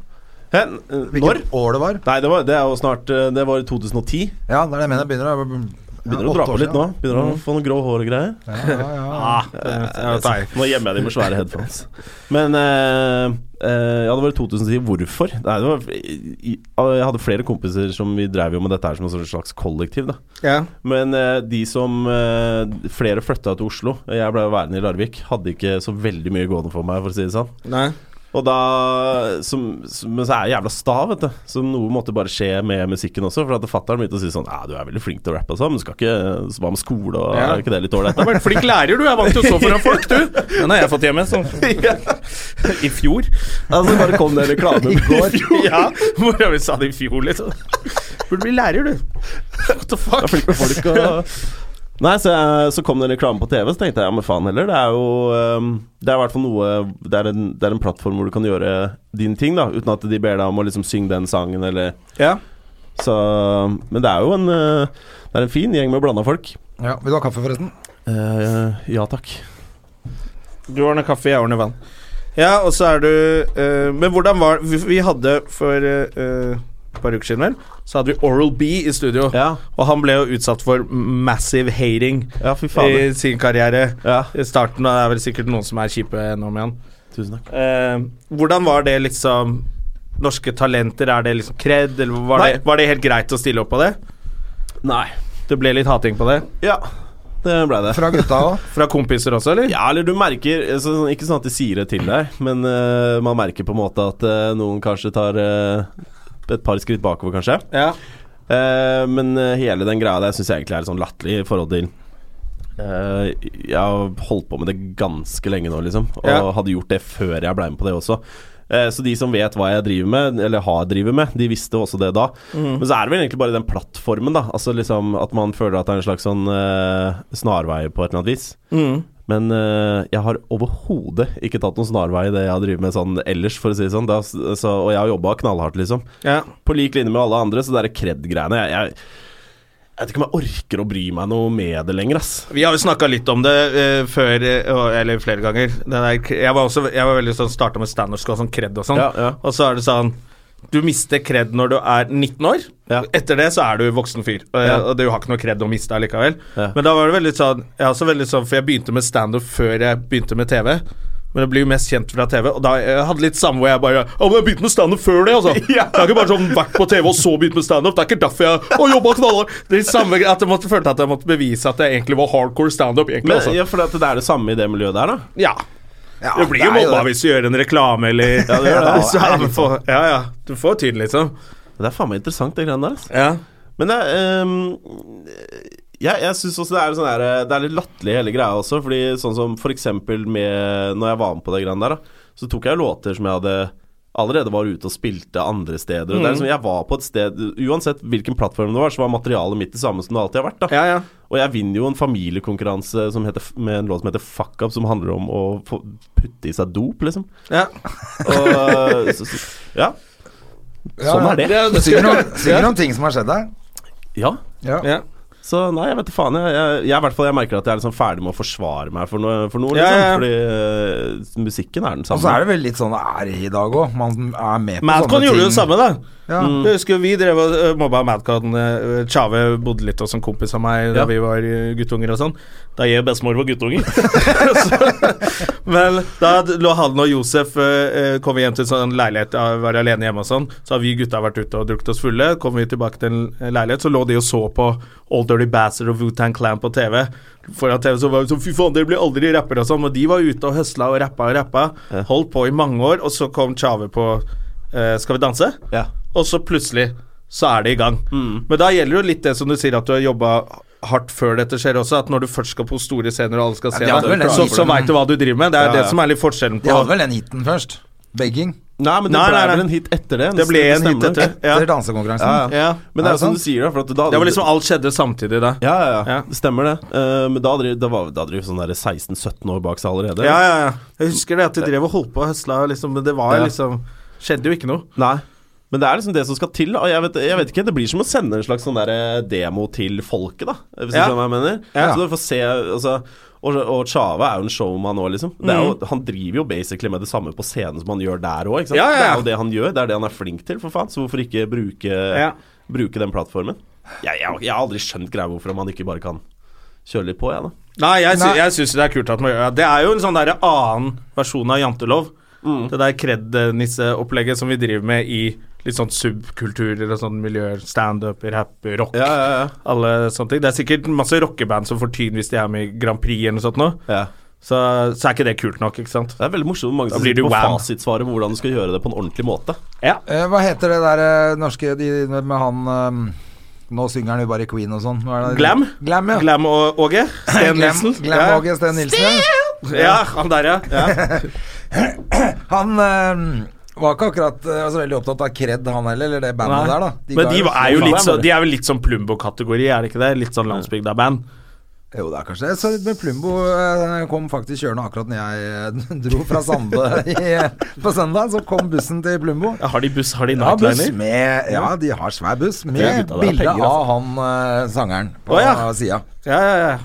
C: Hæ? Eh, Når?
B: Hvilket år det var?
C: Nei, det, var, det er jo snart eh, Det var i 2010.
B: Ja, det er det jeg mener. Begynner, å-
C: Begynner
B: ja,
C: å dra
B: åtte
C: på
B: år
C: litt nå.
B: siden. Mhm.
C: Begynner å få noen grå hår og greier.
B: Ja, ja, ja.
A: Ja, det er-
C: Nå gjemmer jeg de med svære headphones. Men eh, eh, ja, det var i 2010. Hvorfor? Nei, det var, i- jeg hadde flere kompiser som vi drev jo med dette her som et slags kollektiv. da
A: ja.
C: Men eh, de som eh, Flere flytta til Oslo. Jeg ble værende i Larvik. Hadde ikke så veldig mye gående for meg, for å si det sånn.
A: Nei.
C: Og da som, som, Men så er jeg jævla sta, vet du. Så noe måtte bare skje med musikken også. For at fatter'n begynte å si sånn Ja, du er veldig flink til å rappe og sånn, men du skal ikke Så hva med skole og
A: Ja.
C: Er ikke det litt ålreit?
A: Du
C: da?»
A: var en flink lærer, du. Jeg vant jo så foran folk, du. Den har jeg fått hjemme, så. I fjor.
C: Altså bare kom det en reklame i går.
A: Ja, hvor jeg sa det i fjor, liksom. Burde bli lærer, du. What the fuck?
C: flink med folk og Nei, så, jeg, så kom det en reklame på TV, så tenkte jeg ja, men faen heller. Det er jo ehm, Det er i hvert fall noe det er, en, det er en plattform hvor du kan gjøre din ting, da. Uten at de ber deg om å liksom synge den sangen, eller
A: Ja.
C: Så Men det er jo en eh, Det er en fin gjeng med blanda folk.
B: ja. Vil du ha kaffe, forresten?
C: Eh, ja takk.
A: Du ordner kaffe, jeg ordner vann. Ja, og så er du eh, Men hvordan var Vi, vi hadde for eh, eh, et par uker siden, vel, så hadde vi Oral B i studio.
C: Ja,
A: Og han ble jo utsatt for massive hating
C: ja fy
A: i
C: fader.
A: sin karriere.
C: Ja,
A: I starten, og det er vel sikkert noen som er kjipe nå med han.
C: tusen takk.
A: Eh, hvordan var det liksom Norske talenter, er det liksom kred, eller var
C: Nei.
A: det, var det helt greit å stille opp på det?
C: Nei.
A: Det ble litt hating på det?
C: Ja, det blei det.
B: Fra gutta òg?
A: Fra kompiser også, eller?
C: Ja, eller du merker altså, sånn- Ikke sånn at de sier det til deg, men eh, man merker på en måte at eh, noen kanskje tar eh, et par skritt bakover, kanskje.
A: Ja.
C: Eh, men eh, hele den greia der syns jeg egentlig er litt sånn latterlig i forhold til eh, Jeg har holdt på med det ganske lenge nå, liksom. Og
A: Ja.
C: hadde gjort det før jeg blei med på det også. Eh, Så de som vet hva jeg driver med, eller har drivet med, de visste også det da. Men så er det vel egentlig bare den plattformen, da. Altså liksom At man føler at det er en slags sånn eh, snarvei på et eller annet vis. Men eh, jeg har overhodet ikke tatt noen snarvei i det jeg har drevet med sånn ellers, for å si det sånn. Da, så, og jeg har jobba knallhardt, liksom.
A: ja.
C: På lik linje med alle andre, så det er kred-greiene jeg, jeg, jeg vet ikke om jeg orker å bry meg noe med det lenger, ass.
A: Vi har jo snakka litt om det eh, før, eh, og- eller flere ganger. Den der, k- jeg var også jeg var veldig sånn starta med standup og sånn kred og sånn.
C: Ja, ja.
A: Og så er det sånn Du mister kred når du er 19 år.
C: Ja.
A: Etter det så er du voksen fyr, og,
C: Ja.
A: og du har ikke noe kred å miste allikevel.
C: Ja.
A: Men da var det veldig sånn Jeg er også veldig sånn, for jeg begynte med standup før jeg begynte med TV. Men jeg blir jo mest kjent fra TV, og da jeg hadde litt samme hvor jeg bare Å, men jeg begynte med standup før det, altså. Det er ikke bare sånn vært på TV og så begynt med standup. Det er ikke derfor jeg har jobba knallhardt. Det er samme at jeg måtte, følte at jeg måtte bevise at jeg egentlig var hardcore standup, egentlig.
C: Men,
A: Altså.
C: ja, for at det er det samme i det miljøet der, da.
A: Ja.
B: Ja,
A: Du blir
B: det
A: jo
B: er
A: mobba
B: det.
A: hvis du gjør en reklame eller
C: Ja, det gjør det.
A: Så, ja, men få- ja, ja. Du får tynn, liksom.
C: Det er faen meg interessant, det greiene der. ass. Men det, ehm, jeg, jeg syns også det er, sånn her, det er litt latterlig hele greia også. Fordi sånn som for eksempel med Når jeg var med på det greiene der, da, så tok jeg jo låter som jeg hadde allerede var ute og spilte andre steder. Og det er liksom, jeg var på et sted Uansett hvilken plattform det var, så var materialet mitt det samme som det alltid har vært. da
A: Ja, ja.
C: Og jeg vinner jo en familiekonkurranse som heter, med en låt som heter Fuck Up, som handler om å få putte i seg dop, liksom.
A: ja.
C: Og, eh, så, så, ja. Sånn er det.
B: Du synger om, synger om ting som har skjedd deg.
C: Ja.
B: Ja.
A: ja.
C: Så nei, jeg vet da faen. Jeg, jeg, jeg, i hvert fall, jeg merker at jeg er liksom ferdig med å forsvare meg for noe. For noe
A: Ja, ja,
C: liksom,
A: ja.
C: Fordi øh, musikken er den
B: Og
C: samme.
B: så er det vel litt sånn det er i dag òg. Man er med på
A: Madcon
B: sånne
A: gjorde jo
B: ting.
A: det samme, Mm. da.
B: Ja.
A: Jeg husker jo vi drev og ø, mobba Madcon. ø, Tjave bodde litt hos en kompis av meg da
C: Ja.
A: vi var ø, guttunger og sånn. Da jeg og bestemor var guttunger. Så- Men da d- lå han og Josef ø, ø, Kom vi hjem til en sånn leilighet, ja, var alene hjemme og sånn. Så har vi gutta vært ute og drukket oss fulle. Kom vi tilbake til en eh, leilighet, så lå de og så på Old Dirty Bastard og Wootan Clan på TV. Foran TV så var det sånn Fy faen, dere blir aldri rappere og sånn. Og de var ute og høsla og rappa og rappa. Holdt på i mange år, og så kom Tjave på ø, Skal vi danse?
C: Ja.
A: og så plutselig så er det i gang. Men da gjelder jo litt det som du sier, at du har jobba hardt før dette skjer også, at når du først skal på store scener og alle skal se
B: de hadde vel
A: deg,
B: den
A: så,
B: hiten.
A: så veit du hva du driver med. Det er jo
C: Ja,
A: det
C: ja.
A: som er litt forskjellen
B: De
A: på
B: hadde vel den hiten først. Begging.
C: Nei, men det
A: Nei,
C: ble
A: nei, nei.
C: vel en hit etter det.
A: Det ble en hit
C: stemmer det.
A: etter. Ja.
B: Etter dansekonkurransen.
C: Ja, ja.
A: Ja.
B: Er
C: Men det
B: det
C: er jo som
B: sant?
C: du sier, da. For at da
A: Det var liksom alt skjedde samtidig da.
C: ja, ja, ja,
A: Ja.
C: Det stemmer det. Eh, men da hadde de- da var- da hadde de sånn der 16-17 år bak seg allerede.
A: Ja, ja, ja. Jeg husker det at de drev og holdt på og høsla, liksom, men det var
C: Ja.
A: liksom Skjedde jo ikke noe.
C: Nei. Men det er liksom det som skal til. da. Og jeg vet, jeg vet ikke, Det blir som å sende en slags sånn der eh, demo til folket, da. Hvis du
A: Ja.
C: skjønner hva jeg mener.
A: Ja.
C: Så du får se altså, Og, og Tjave er jo en showman òg, liksom. Det er jo,
A: Mm.
C: Han driver jo basically med det samme på scenen som han gjør der òg.
A: Ja, ja, ja.
C: Det er jo det han gjør. Det er det han er flink til, for faen. Så hvorfor ikke bruke,
A: Ja.
C: bruke den plattformen? Jeg, jeg, jeg har aldri skjønt greia hvorfor man ikke bare kan kjøre litt på, jeg, da.
A: Nei, jeg, sy
B: Nei.
A: jeg syns det er kult at man gjør det. Det er jo en sånn der annen versjon av jantelov.
B: Mm.
A: Det der kred-nisseopplegget som vi driver med i litt sånn subkulturer og sånn miljøer. Standup, rap, rock.
C: Ja, ja, ja.
A: Alle sånne ting. Det er sikkert masse rockeband som får tyn hvis de er med i Grand Prix eller noe sånt nå. Så, så er ikke det kult nok, ikke sant?
C: Det er veldig morsomt mange som
A: blir du
C: sitter på
A: wham.
C: fasitsvaret på hvordan du skal gjøre det på en ordentlig måte.
A: Ja.
B: Eh, hva heter det der eh, norske de, med han eh, Nå synger han jo bare i Queen og sånn. Hva er det?
A: Glam?
B: Glam, ja.
A: Glam og Åge? Sten
B: Glam-
A: Nilsen?
B: Glam
A: ja.
B: Åge Steen Nilsen. ja.
A: Ja, han der, ja. ja.
B: Han eh, var ikke akkurat eh, så veldig opptatt av kred, han heller, eller det bandet
A: Nei.
B: der, da.
A: Men
B: ga
A: de er jo
B: faen.
A: litt sånn, de er vel litt sånn Plumbo-kategori, er det ikke det? Litt sånn landsbygda-band.
B: Jo, det er kanskje det. Så med Plumbo eh, kom faktisk kjørende akkurat når jeg eh, dro fra Sande i, på søndag. Så kom bussen til Plumbo.
A: Ja, Har de buss, har de
B: Ja, buss
A: nightliner?
B: med, ja, de har svær buss
C: gutta
B: med
C: der har
B: bilde
C: penger, altså.
B: av han eh, sangeren på
A: Å, ja.
B: sida.
A: Ja, ja, ja.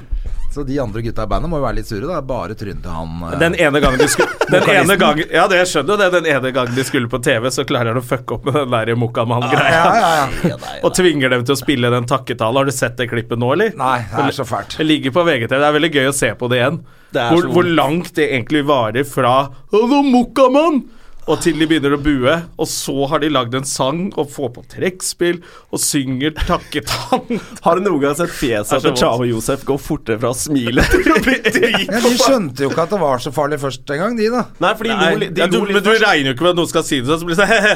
B: Så de andre gutta i bandet må jo være litt sure. Det er bare trynet til han eh,
A: Den ene gangen de skulle den
B: Vokalisten.
A: ene gangen, Ja, det jeg skjønner jo det. Den ene gangen de skulle på TV, så klarer han å fucke opp med den der Mokkamann-greia.
B: Ja, ja, ja.
A: Og tvinger dem til å spille den takketalen. Har du sett det klippet nå, eller?
B: Nei, det er så fælt.
A: Det ligger på VGTV. Det er veldig gøy å se på det igjen.
C: Det er
A: hvor,
C: så-
A: hvor langt det egentlig varer fra «Hallo, Mokkamann!» og til de begynner å bue. Og så har de lagd en sang og får på trekkspill og synger takketann.
C: Har du noen gang sett fjeset
A: Det er så
C: til Tjave og Josef gå fortere fra å smile til å bli
B: Ja,
C: drit?
B: de skjønte jo ikke at det var så farlig først engang, de, da.
C: Nei, for de lo
A: Nei,
C: litt.
A: ja, du, men du regner jo ikke med at noen skal si det, sånn, så blir det sånn «Hehe».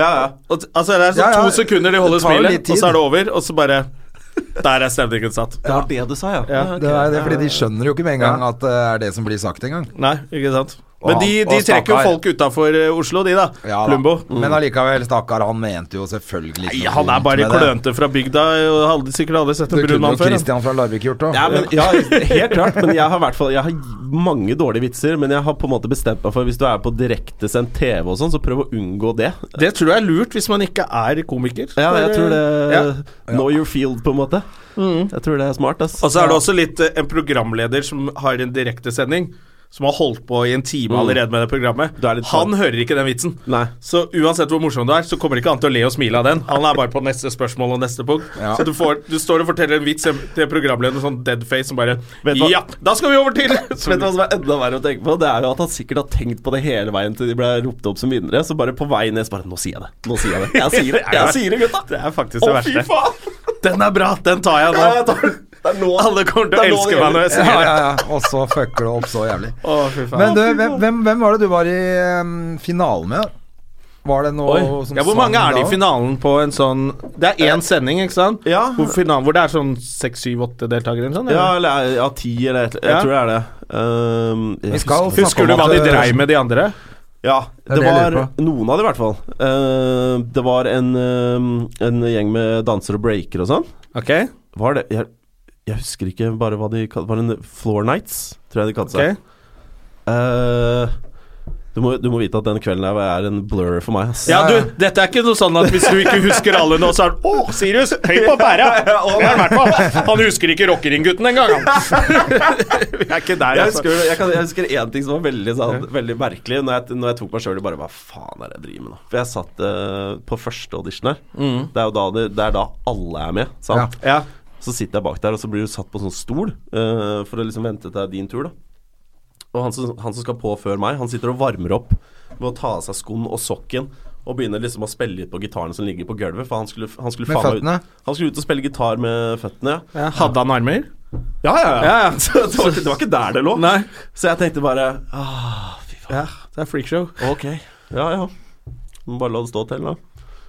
C: Ja, ja.
A: Og, altså, det er sånn
B: Ja, ja,
A: to sekunder de holder
B: det tar jo litt
A: smilet,
B: tid.
A: og så er det over, og så bare Der er stemningen satt.
C: Det var det du sa, ja. ja.
B: Det er det, fordi de skjønner jo ikke med en gang at det er det som blir sagt engang.
A: Nei, ikke sant. Men
B: Og
A: de,
B: han-
A: de
B: og
A: trekker jo
B: stakkar.
A: folk utafor Oslo, de, da.
B: Ja, da. Mm.
A: Plumbo.
B: Men allikevel, stakkar, han mente jo selvfølgelig ikke
A: Nei,
B: noe
A: han er
B: vondt
A: bare
B: med det.
A: klønete fra bygda. Og hadde sikkert aldri sett en
B: Det
A: brun
B: kunne jo
A: mann før. han.
B: Christian fra Larvik gjort òg.
C: Ja, men, ja, helt klart, men jeg har i hvert fall Jeg har mange dårlige vitser, men jeg har på en måte bestemt meg for hvis du er på direktesendt TV og sånn, så prøv å unngå det.
A: Det tror jeg er lurt hvis man ikke er komiker. eh,
C: Ja, jeg tror det
A: Ja.
C: Know your field, på en måte. Jeg tror det er smart, ass.
A: Mm. Og så er det også litt eh, en programleder som har en direktesending. Som har holdt på i en time allerede med det programmet.
C: Du er litt
A: Han
C: sånn.
A: hører ikke den vitsen.
C: Nei.
A: Så uansett hvor morsom du er, så kommer ikke han til å le og smile av den. Han er bare på neste spørsmål og neste punkt.
B: Ja.
A: Så du, får, du står og forteller en vits til programlederen, sånn deadface som bare
C: Vet du hva-
A: Ja, da skal vi over til
C: Vet du hva som er enda verre å tenke på? Det er jo at han sikkert har tenkt på det hele veien til de ble ropt opp som vinnere. Så bare på vei ned så bare Nå sier jeg det. Nå sier jeg det. Jeg sier det, jeg sier det gutta.
A: Det er faktisk det
C: Å, fy
A: verste.
C: faen!
A: Den er bra, den tar jeg nå.
C: Ja, jeg tar den. Det er nå
A: Alle kommer til å
C: Det er nå det
A: elske meg når jeg
B: Ja,
A: sier det.
B: ja, ja. Og så fucker det opp så jævlig.
A: Å, fy faen.
B: Men du, hvem, hvem, hvem var det du var i um, finalen med? da? Var det noe
A: Oi.
B: som
A: Ja, hvor
B: sang
A: mange er det
B: da?
A: i finalen på en sånn Det er én sending, ikke sant?
C: Ja.
A: Hvor, finalen, hvor det er sånn seks, syv, åtte deltakere eller sånn?
C: Ja,
A: eller?
C: eller ja, ti eller et Jeg
A: Ja.
C: tror det er det. Ehm, jeg
B: Vi skal
C: husker-
B: snakke
A: Husker du
B: om
A: hva
B: at-
A: de dreiv med, de andre?
C: Ja,
B: Det er
C: det,
B: det jeg
C: var
B: lurer
C: noen av det i hvert fall. Ehm, det var en, ehm, en gjeng med dansere og breakere og sånn.
A: Ok,
C: Var det jeg, jeg husker ikke bare hva de kalte Var det en Floor Nights, tror jeg de kalte
A: ok
C: seg. Eh, du, må, du må vite at den kvelden her er en blur for meg. ass.
A: Ja, du, dette er ikke noe sånn at hvis du ikke husker alle nå, så er det Å, Sirius! Høy på pæra! Det har han vært på. Han husker ikke Rockering-gutten engang, han. Vi er ikke der,
C: Jeg
A: altså.
C: husker, jeg, kan, jeg husker en ting som var veldig, sånn, veldig merkelig når jeg, når jeg tok meg sjøl i bare Hva faen er det jeg driver med nå? For jeg satt eh, på første audition her. Det er jo da, det, det er da alle er med. Sant?
A: Ja.
C: Så sitter jeg bak der, og så blir du satt på sånn stol eh, for å liksom vente til din tur. da Og han som, han som skal på før meg, han sitter og varmer opp med å ta av seg skoen og sokken. Og begynner liksom å spille litt på gitaren som ligger på gulvet. For han skulle, han skulle,
B: Med
C: faen meg
B: føttene?
C: ut, han skulle ut og spille gitar med føttene. Ja.
A: Ja, Hadde han armer?
C: Ja, ja, ja.
A: Ja, ja.
C: Så det, var ikke, det var ikke der det lå.
A: Nei.
C: Så jeg tenkte bare ah, fy faen.
A: Ja, det er freakshow.
C: Ok. Ja, ja. Må bare la det stå til, da.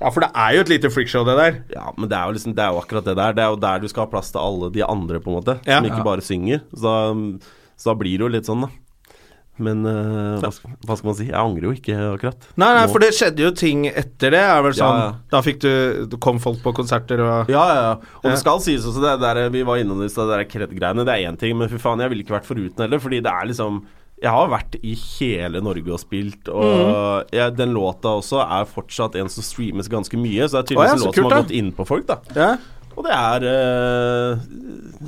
A: Ja, for det er jo et lite freakshow, det der.
C: Ja, men det er jo liksom Det er jo akkurat det der. Det er jo der du skal ha plass til alle de andre, på en måte.
A: Ja.
C: Som ikke bare synger. Så da, så da blir det jo litt sånn, da. Men eh, hva, skal, hva skal man si? Jeg angrer jo ikke akkurat.
A: Nei, nei,
C: Nå.
A: for det skjedde jo ting etter det. Er vel sånn,
C: Ja, ja.
A: Da fikk du Kom folk på konserter og
C: Ja, ja, ja. Og
A: Ja.
C: det skal sies også, det der vi var innom i stad, det der kreddgreiene, det er én ting, men fy faen, jeg ville ikke vært foruten heller, fordi det er liksom jeg har vært i hele Norge og spilt, og jeg, den låta også er fortsatt en som streames ganske mye,
A: Å
C: så det er
A: ja,
C: tydeligvis en
A: så
C: låt som
A: kult,
C: har
A: da.
C: gått inn på folk, da.
A: Ja.
C: Og det er eh,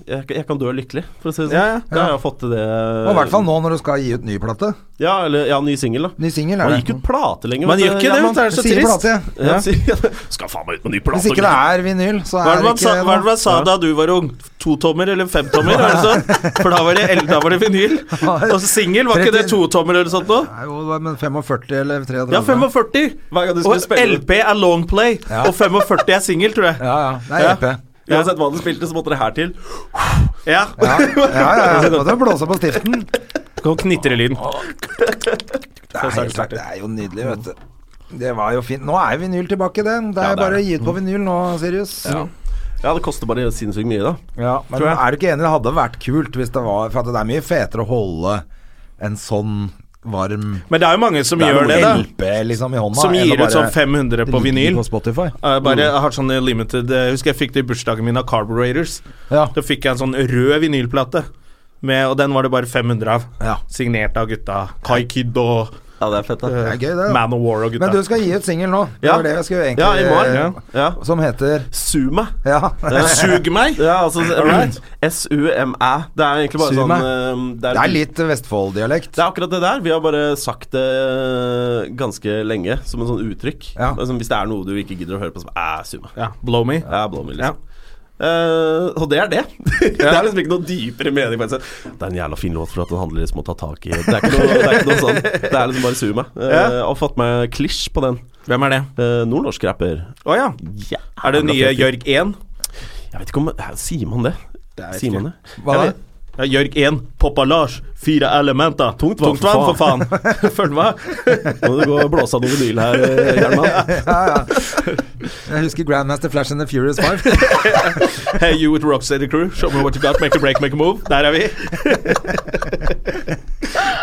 C: jeg, jeg kan dø lykkelig, for å si det sånn.
A: Ja, ja.
C: Da har jeg fått til det.
B: Og I hvert fall nå når du skal gi ut ny plate.
C: Ja, eller ja, ny singel, da.
B: Ny singel er
C: Man
B: det.
C: gikk ut plate lenger.
A: Man
C: vet
A: gjør
C: du.
A: ikke det,
C: Ja,
A: vet du, det er så
B: Sier
A: trist.
B: plate.
C: Ja, sier- Skal faen meg ut med ny plate.
B: Hvis ikke det er vinyl, så
A: Hva er
B: er
A: det
B: det
A: man sa,
B: ikke
A: hva er det
B: noe.
A: man sa da du var ung? Totommer eller femtommer? var det sånn? For da var det, el- da var det vinyl. Og så singel, var ikke det totommer eller sånt noe?
B: Nei, jo, det var- Men 45 eller 33?
A: Ja, 45.
C: Hver gang du skulle
A: Og
C: spille
A: LP er long play,
B: Ja.
A: og 45 er singel, tror jeg.
B: Ja, ja. Det er E
A: Ja.
B: EP.
C: Uansett hva du spilte, så måtte det her til.
A: Ja.
B: Ja, ja, ja. ja. Og det blåser på stiften.
A: Kom knitrelyden.
B: Det er, helt, det er jo nydelig, vet du. Det var jo fint. Nå er vinyl tilbake, det. Det er
C: det er
B: bare å
C: det.
B: gi ut
A: Mm.
B: på vinyl nå, Sirius. Ja.
C: Ja, det koster bare sinnssykt mye, da.
B: men er du ikke enig? Det hadde vært kult hvis det var For at det er mye fetere å holde en sånn varm
A: Men det er jo mange som
B: Det er
A: gjør
B: noe
A: det, da.
B: LP liksom i hånda.
A: Som
B: enn å
A: gir
B: bare
A: ut sånn 500 på
B: ligge
A: vinyl.
B: På Mm. Spotify.
A: Jeg bare jeg har sånne limited Jeg husker jeg fikk det i bursdagen min av Carburators.
B: Ja.
A: Da fikk jeg en sånn rød vinylplate, med, og den var det bare 500 av.
B: ja.
A: Signert av gutta Kai Kid og
C: Ja, det er fett, da.
B: Det er gøy, det. da.
A: Man of War og gutta.
B: Men du skal gi ut singel nå. Det
C: Ja.
B: var det jeg skulle egentlig
C: Ja, i morgen.
B: eh,
C: Ja. ja.
B: Som heter
C: Suma.
B: Ja.
A: Sug meg!
C: Ja, altså
A: Alright.
C: S-U-M-æ. Det er egentlig bare
B: Suma.
C: sånn um,
B: Det er litt Vestfold-dialekt.
C: Det er akkurat det der. Vi har bare sagt det eh, ganske lenge som en sånn uttrykk.
B: Ja.
C: Altså, hvis det er noe du ikke gidder å høre på, så bare æ, Suma.
A: Ja, blow me.
C: Ja, blåmil, liksom. Eh, og det er det. det er liksom ikke noe dypere mening. Bare. sånn, Det er en jævla fin låt for at den handler liksom om å ta tak i Det er ikke noe, det er ikke noe sånn. Det er liksom bare Suma. Uh, Og fått meg klisj på den.
A: Hvem er det?
C: Uh, Nordnorsk rapper.
A: Å ja. Er det nye Jørg 1?
C: Jeg vet ikke om Hæ, Sier man det? Sier man det?
B: Hva da?
A: Eller- Ja, Jørg 1, Poppa Lars, fire elementer. Tungt
C: vann, for
A: vann, for faen. Følg med.
C: Nå må du gå og blåse av noe vinyl her, eh, Gjerman.
B: Ja, ja. Jeg husker Grandmaster Flash and the Furious Five.
A: Hey, you with Rocksteady Crew, show me what you got, make a break, make a move. Der er vi.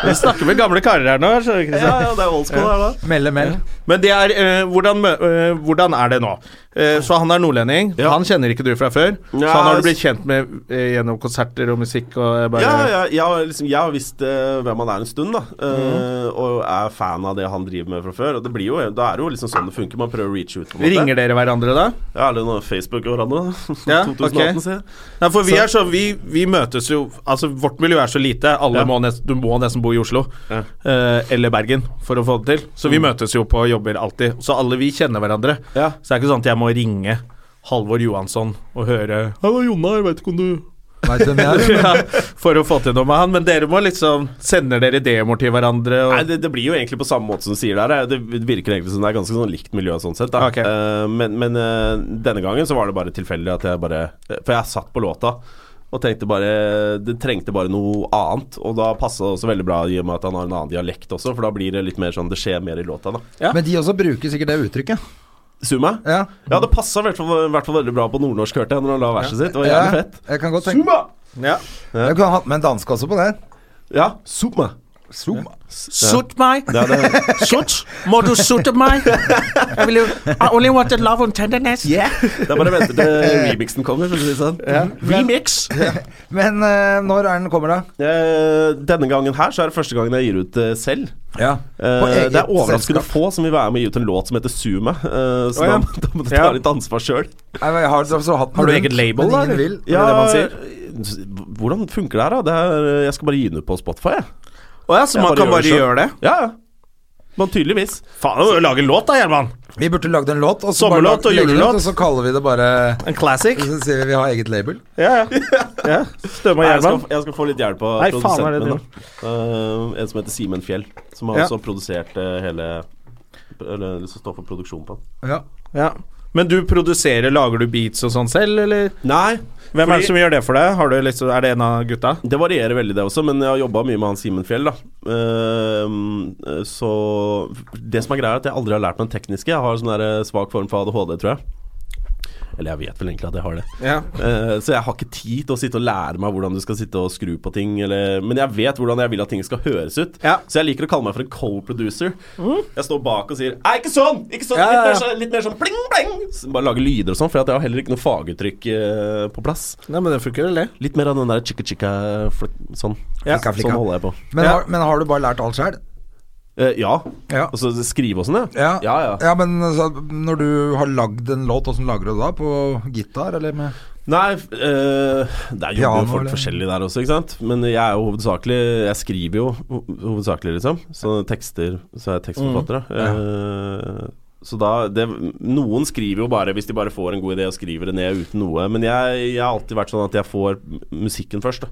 A: Vi snakker med gamle karer her nå. skjønner du,
C: Ja,
A: Kristian?
C: ja, det er old school her, da.
B: Melde meld.
A: Men det er eh, hvordan, mø- eh, hvordan er det nå? Eh, så han er nordlending.
C: Ja.
A: Han kjenner ikke du fra før. så
C: Ja,
A: han har du
C: s-
A: blitt kjent med eh, gjennom konserter og musikk og eh, bare
C: Ja, ja, jeg har liksom, jeg har visst eh, hvem han er en stund, da. Eh, Og er fan av det han driver med fra før. Og det blir jo, Da er det jo liksom sånn det funker. Man prøver å reach ut. på en måte.
A: Ringer dere hverandre da?
C: Ja, eller noe Facebook og hverandre.
A: Ja,
C: Ja, 2018,
A: ok.
C: sier jeg.
A: Nei, for vi,
C: Så-
A: er så, vi, vi møtes jo Altså, vårt miljø er så lite. Alle
C: Ja.
A: må nest, du må nesten bo i Oslo
C: Ja. Mm.
A: eh, eller Bergen for å få det til. Så vi møtes jo på jobber alltid. Så alle vi kjenner hverandre.
C: Ja.
A: Så det er ikke sånn at jeg må ringe Halvor Johansson og høre Hallo, Jonna, jeg vet ikke om du
B: Vet du hvem jeg er?
A: ja, For å få til noe med han. Men dere må liksom Sender dere demoer til hverandre? Og,
C: Nei, det, det blir jo egentlig på samme måte som du sier der. Det virker egentlig som det er ganske sånn likt miljø sånn sett. Da.
A: Ok.
C: Eh, men men eh, denne gangen så var det bare tilfeldig at jeg bare For jeg satt på låta. Og tenkte bare Det trengte bare noe annet. Og da passa det også veldig bra i og med at han har en annen dialekt også, for da blir det litt mer sånn Det skjer mer i låta, da.
A: Ja.
B: Men de også bruker sikkert det uttrykket.
C: Suma?
B: Ja.
C: Ja, det passa i hvert fall i hvert fall veldig bra på nordnorsk, hørte jeg, når han la verset sitt. Det var
B: Ja,
C: jævlig fett.
B: Jeg kan godt tenke
C: Suma!
A: Ja.
B: Jeg kunne hatt med en danske også på det.
C: Ja, Suma.
B: Suma.
A: Sutt meg!
C: Ja, det,
A: Sutt! Må du sutte meg? I, will, I only want love and tenderness.
C: det er bare å vente til remixen kommer, for å si det sånn.
A: Remix!
B: Men eh, når er den kommer, da?
C: Eh, denne gangen her så er det første gangen jeg gir ut eh, selv.
B: Ja.
C: Eh, det er overraskende
B: selskap.
C: få som vil være med å gi ut en låt som heter Suma, eh, så
A: Å, ja.
C: da, da må du ta
A: Ja.
C: litt ansvar sjøl.
B: Nei, men jeg har, altså, hatt
A: Har du
B: den,
A: eget label,
B: men
A: da,
B: ingen
A: eller?
B: vil.
A: Ja. det
C: eh, Hvordan funker det her, da? Det er, eh, jeg skal bare gi den ut på Spotify, jeg.
A: Å ja, så
C: Jeg
A: man
C: bare
A: kan
C: gjør
A: bare
C: det selv.
A: gjøre det?
C: Ja, ja. Men tydeligvis.
A: Faen, du må jo lage en låt da, Gjerman.
B: Vi burde lagd en låt, og så bare
A: Sommerlåt
B: lagt-
A: og
B: legge den ut,
A: julelåt.
B: Og så kaller vi det bare
A: En classic.
B: Så sier vi vi har eget label.
A: Ja, ja. ja. Stømme
C: Nei, jeg,
A: Gjerman.
C: skal, jeg skal få litt hjelp av
A: Nei, faen, er det
C: produsenten min. da. Eh, en som heter Simen Fjell, som har
A: Ja.
C: også produsert eh, hele Eller som står for produksjonen på den.
B: Ja.
A: Ja. Men du produserer, lager du beats og sånn selv, eller?
C: Nei,
A: Hvem er
C: Fordi-
A: det som gjør det for deg? Har du liksom, er det en av gutta?
C: Det varierer veldig det også, men jeg har jobba mye med han Simen Fjell, da. Ehm, så Det som er greia, er at jeg aldri har lært meg den tekniske. Jeg har sånn der eh, svak form for ADHD, tror jeg. Eller jeg vet vel egentlig at jeg har det.
A: Ja.
C: Eh, så jeg har ikke tid til å sitte og lære meg hvordan du skal sitte og skru på ting, eller Men jeg vet hvordan jeg vil at ting skal høres ut.
A: Ja. Mm.
C: Så jeg liker å kalle meg for en co-producer. Jeg står bak og sier Nei, ikke sånn! Ikke sånn!
A: Ja, ja, ja.
C: Litt, mer, sånn- litt mer sånn pling, pling! Så bare lage lyder og sånn, for at jeg har heller ikke noe faguttrykk eh, på plass.
A: Nei, men det funker, eller?
C: Litt mer av den der chicka-chicka sånn.
A: Ja.
B: Flikka, flikka.
C: Sånn holder jeg på.
B: Men,
A: Ja.
B: Har, men har du bare lært alt sjøl?
C: Eh, ja.
B: Ja.
C: Altså skrive og sånn, ja. ja, ja.
B: ja, men altså, når du har lagd en låt, åssen lager du det da? På gitar, eller med
C: Nei, f- eh, der jobber
B: Piano,
C: jo folk
B: eller?
C: forskjellig der også, ikke sant. Men jeg er jo hovedsakelig Jeg skriver jo ho- hovedsakelig, liksom. Så tekster Så er jeg tekstforfatter,
B: Mm.
C: da. Eh, så da det, Noen skriver jo bare hvis de bare får en god idé og skriver det ned uten noe. Men jeg, jeg har alltid vært sånn at jeg får m- musikken først, da.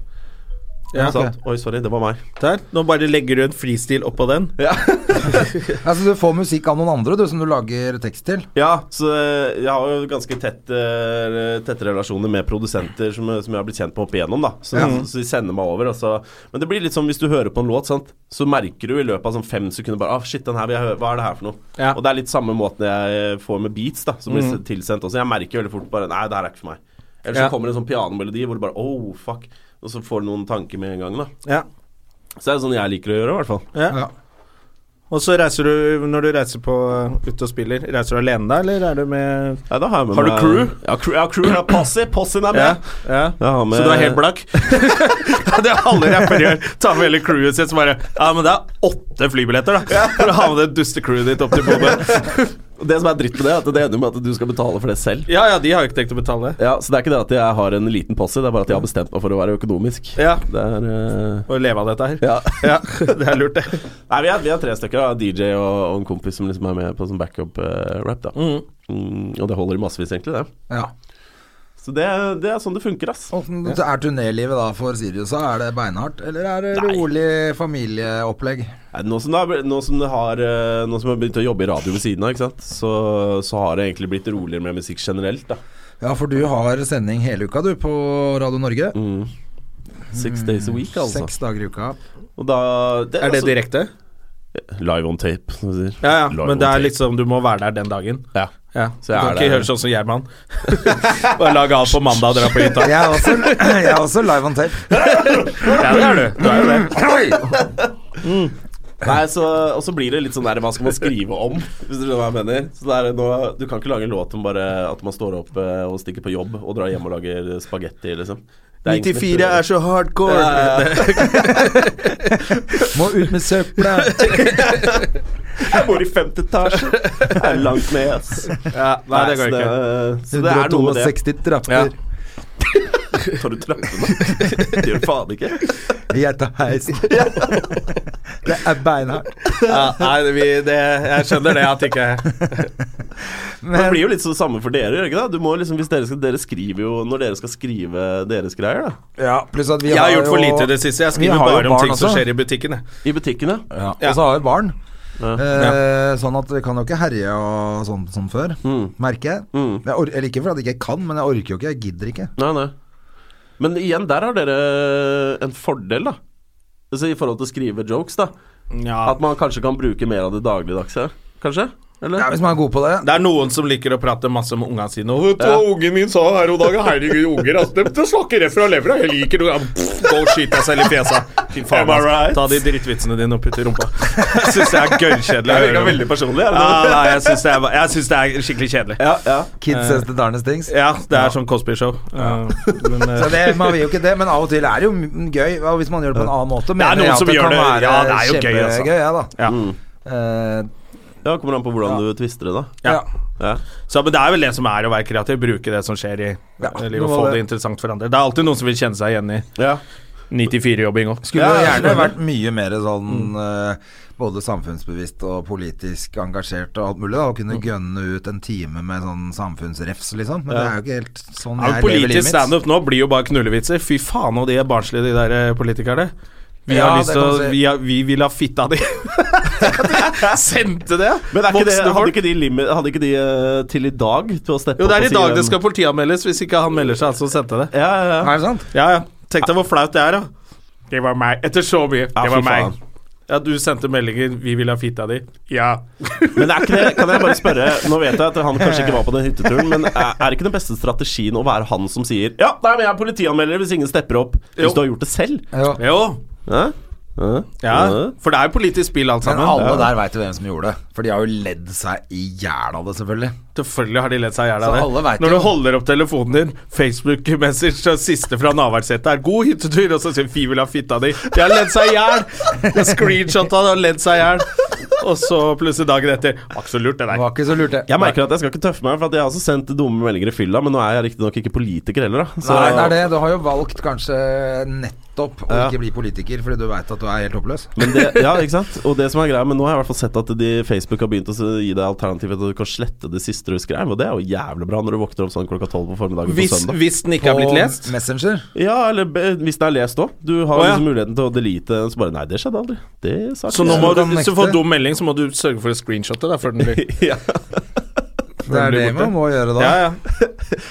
A: Ja.
C: Ikke sant? Oi, sorry, det var meg.
A: Der. Nå bare legger du en freestyle oppå den.
B: Altså, du får musikk av noen andre, du, som du lager tekst til.
C: Ja, så eh, jeg har jo ganske tett, eh, tette relasjoner med produsenter som, eh, som jeg har blitt kjent med opp igjennom, da. Så,
B: Ja.
C: så de sender meg over. og så- Men det blir litt sånn hvis du hører på en låt, sant? så merker du i løpet av sånn fem sekunder bare ah, shit, den her vil jeg høre, hva er det her for noe?
A: Ja. Mm.
C: Og det er litt samme måten jeg eh, får med beats, da, som blir s- tilsendt også. Jeg merker veldig fort bare nei, det her er ikke for meg. Eller så
A: Ja.
C: kommer det en sånn pianomelodi hvor du bare oh, fuck. Og så får du noen tanker med en gang, da.
A: Ja.
C: Så det er sånn jeg liker å gjøre, i hvert fall.
A: ja. Og så reiser du, når du reiser på ut og spiller, reiser du alene da, eller er du med
C: Nei, da har, jeg med
A: Har du
C: meg-
A: crew?
C: Ja, crew, ja, crew ja, posse. Possen er med.
A: Ja. ja.
C: Jeg har med
A: Så du er helt blakk? det er alle rappere gjør. Ta med hele crewet sitt, så bare Ja, men det er åtte flybilletter, da. For å ha med det dustecrewet ditt opp til Bodø.
C: Og Det som er dritt med det, er at det ender med at du skal betale for det selv.
A: Ja ja, de har jo ikke tenkt å betale.
C: Ja, Så det er ikke det at jeg har en liten posse, det er bare at jeg har bestemt meg for å være økonomisk.
A: Ja.
C: Det er eh,
A: Å leve av dette her.
C: Ja.
A: Ja, det er lurt, det.
C: Nei, vi er, vi er tre stykker, da. DJ og, og en kompis som liksom er med på sånn backup-rap, da. Mm, og det holder i massevis, egentlig, det.
B: Ja.
C: Så det, er- det er sånn det funker, ass.
B: Åssen er turnélivet da for Sirius? da? Er det beinhardt, eller er det
C: Nei.
B: rolig familieopplegg?
C: Nei, Nå som, det har, nå, som det har, eh, nå som jeg har begynt å jobbe i radio ved siden av, ikke sant? Så, så har det egentlig blitt roligere med musikk generelt. da
B: Ja, for du har sending hele uka, du, på Radio Norge.
A: Mm.
C: Six days a week, altså.
B: Seks dager i uka.
C: Og da,
A: Er det
C: altså-
A: direkte?
C: Live on tape, som de sier.
A: Ja, ja,
C: Live
A: men
C: on
A: det er
C: tape.
A: liksom Du må være der den dagen.
C: ja.
A: Ja, Du
C: Så jeg
A: kan
C: er
A: ikke
C: der.
A: gjøre sånn som Gjerman. Bare lage av på mandag og dra på hytta.
B: Jeg er også, jeg er også live on tape.
A: Ja, det er du. du er jo det.
C: Nei, så, og så blir det litt sånn der Hva skal man skrive om? Hvis du skjønner hva jeg mener. Så det er nå, Du kan ikke lage en låt om bare at man står opp eh, og stikker på jobb og drar hjem og lager spagetti, liksom. Det ingen som tror-
A: så hardcore.
C: Ja, ja, ja.
B: Må ut med søpla.
C: Jeg bor i femte etasje. Det er langt ned, ass.
A: Ja, nei, det går ikke.
C: Så det er noe med det.
B: 162 trapper.
C: Tar du trappene? Det gjør du faen ikke.
B: Jeg tar heisen. Det er beinhardt.
A: Ja, nei, det, vi, det, jeg skjønner det at ikke
C: Men det blir jo litt sånn samme for dere, gjør det ikke det? Du må liksom, hvis dere, skal, dere skriver jo Når dere skal skrive deres greier, da.
B: Ja, pluss at vi
A: Jeg har gjort for
B: jo-
A: lite i det siste. Jeg
B: Vi
A: skriver
B: har jo
A: bare om
B: barn
A: ting som
B: også.
A: skjer i butikken. jeg.
C: I butikken, ja.
B: Ja. Og så har vi barn. Eh, sånn at vi kan jo ikke herje og sånn som før, merker jeg. jeg or eller ikke fordi jeg ikke kan, men jeg orker jo ikke. Jeg gidder ikke.
C: Nei, nei. Men igjen, der har dere en fordel, da. Altså, I forhold til å skrive jokes, da.
A: Ja.
C: At man kanskje kan bruke mer av det dagligdagse. Kanskje? Eller?
B: Ja, hvis man er god på det.
A: Det er noen som liker å prate masse om ungene sine. Og vet du hva ungen min sa her om dagen? Herregud, unger. Altså, det, det snakker rett fra levra. Jeg liker det. Ja, pff, Gå og skyt deg selv i fjeset. Fy faen,
C: Am I
A: altså.
C: right?
A: Ta de drittvitsene dine og putt i rumpa. Jeg syns det er gørrkjedelig. å
C: Det virker
A: høre.
C: veldig personlig, er det
A: Ja,
C: det?
A: nei, jeg syns det, er- jeg synes det er skikkelig kjedelig.
C: Ja, ja.
B: Kids says the darnest things.
A: Ja, det er sånn Cosby-show. Eh, men, eh,
B: Så det, man vil jo ikke det, men av og til er det jo m- gøy. Og hvis man gjør det på en annen måte,
A: noen
B: jeg at
A: som
B: det
A: gjør
B: kan
A: det.
B: være
A: Ja, det er jo gøy, altså.
B: kjempegøy, ja, da.
A: ja.
B: Eh,
C: ja, kommer an på hvordan du tvister det, da.
A: Ja.
B: ja.
C: Ja.
A: Så, men det er vel det som er å være kreativ. Bruke det som skjer i
B: Ja,
A: eh, livet,
B: noe
A: og
B: av
A: få
B: det.
A: det interessant for andre. Det er alltid noen som vil kjenne seg igjen i
C: Ja.
A: 94-jobbing òg.
B: Skulle
C: Ja,
B: jo
C: ja,
B: gjerne vært mye mer sånn eh, både samfunnsbevisst og politisk engasjert og alt mulig. da, Og kunne
A: Mm.
B: gønne ut en time med sånn samfunnsrefs, liksom. Men det er jo ikke helt sånn
A: Ja, men
B: jeg lever
A: politisk
B: livet mitt.
A: standup nå blir jo bare knullevitser. Fy faen, og de er barnslige, de der eh, politikerne. Vi,
B: Ja,
A: har lyst
B: det
A: til
B: kan
A: å,
B: du si.
A: vi, har, vi vil ha fitta di. Sendte det!
C: Men er ikke det,
A: Voksne
C: hadde
A: folk.
C: ikke de, limit, hadde ikke de eh, til i dag til å steppe
A: Jo, det er
C: opp og
A: i
C: si
A: dag
C: en-
A: det skal politianmeldes, hvis ikke han melder seg, altså sendte det.
C: Ja, ja, ja.
B: Er det sant?
A: Ja, ja. Tenk deg hvor flaut det er, da. Det var meg. Etter så mye. det
C: fy
A: var
C: faen.
A: meg. Ja, du sendte meldinger 'Vi vil ha fitta di'. Ja.
C: Men er ikke det, kan jeg bare spørre Nå vet jeg at han kanskje ikke var på den hytteturen, men er, er ikke den beste strategien å være han som sier Ja, nei, men jeg er politianmelder hvis ingen stepper opp,
A: Jo.
C: hvis du har gjort det selv?
B: Jo.
A: Jo.
C: Hæ? Hæ? Hæ?
A: Ja. For det er jo politisk spill, alt
B: Men
A: sammen.
B: alle
A: Ja.
B: der veit jo hvem som gjorde det. For de har jo ledd seg i hjel av det, selvfølgelig.
A: Selvfølgelig har de ledd seg i hjel
B: Så
A: av
B: alle
A: det.
B: vet
A: Når
B: jo.
A: du holder opp telefonen din, Facebook-message, så siste fra Navarsete er 'god hyttetur', og så sier 'vi vil ha fitta di'. De har ledd seg i hjel! Screenshotta det og ledd seg i hjel. Og så plutselig dagen etter Var ikke så lurt, det
B: Det
A: der.
B: var ikke så lurt, det.
C: Jeg merker at jeg skal ikke tøffe meg, for at jeg har også sendt dumme meldinger i fylla, men nå er jeg riktignok ikke politiker heller, da. Så
B: Nei, det er det. Du har jo valgt kanskje nettopp å
C: Ja.
B: ikke bli politiker fordi du veit at du er helt håpløs.
C: Men det, ja, ikke sant? Og det som er greia, men nå har jeg i hvert fall sett at de Facebook har begynt å s- gi deg alternativet at du kan slette det siste du skrev, og det er jo jævlig bra når du våkner opp sånn klokka tolv på formiddagen
B: Sånn
C: på
A: Hvis,
C: søndag.
A: hvis den ikke har blitt lest.
B: Messenger.
C: Ja, eller be- hvis den er lest òg. Du har
A: Å, ja.
C: liksom muligheten til å delete den, så bare Nei, det skjedde aldri. Det sa ikke
A: Så nå
C: jeg.
A: må du,
B: kan
A: hvis du
B: nekte.
A: får dum melding, så må du sørge for å screenshotte det før den blir
C: ja.
B: Det er det
A: borte.
B: man må gjøre da.
A: ja, ja.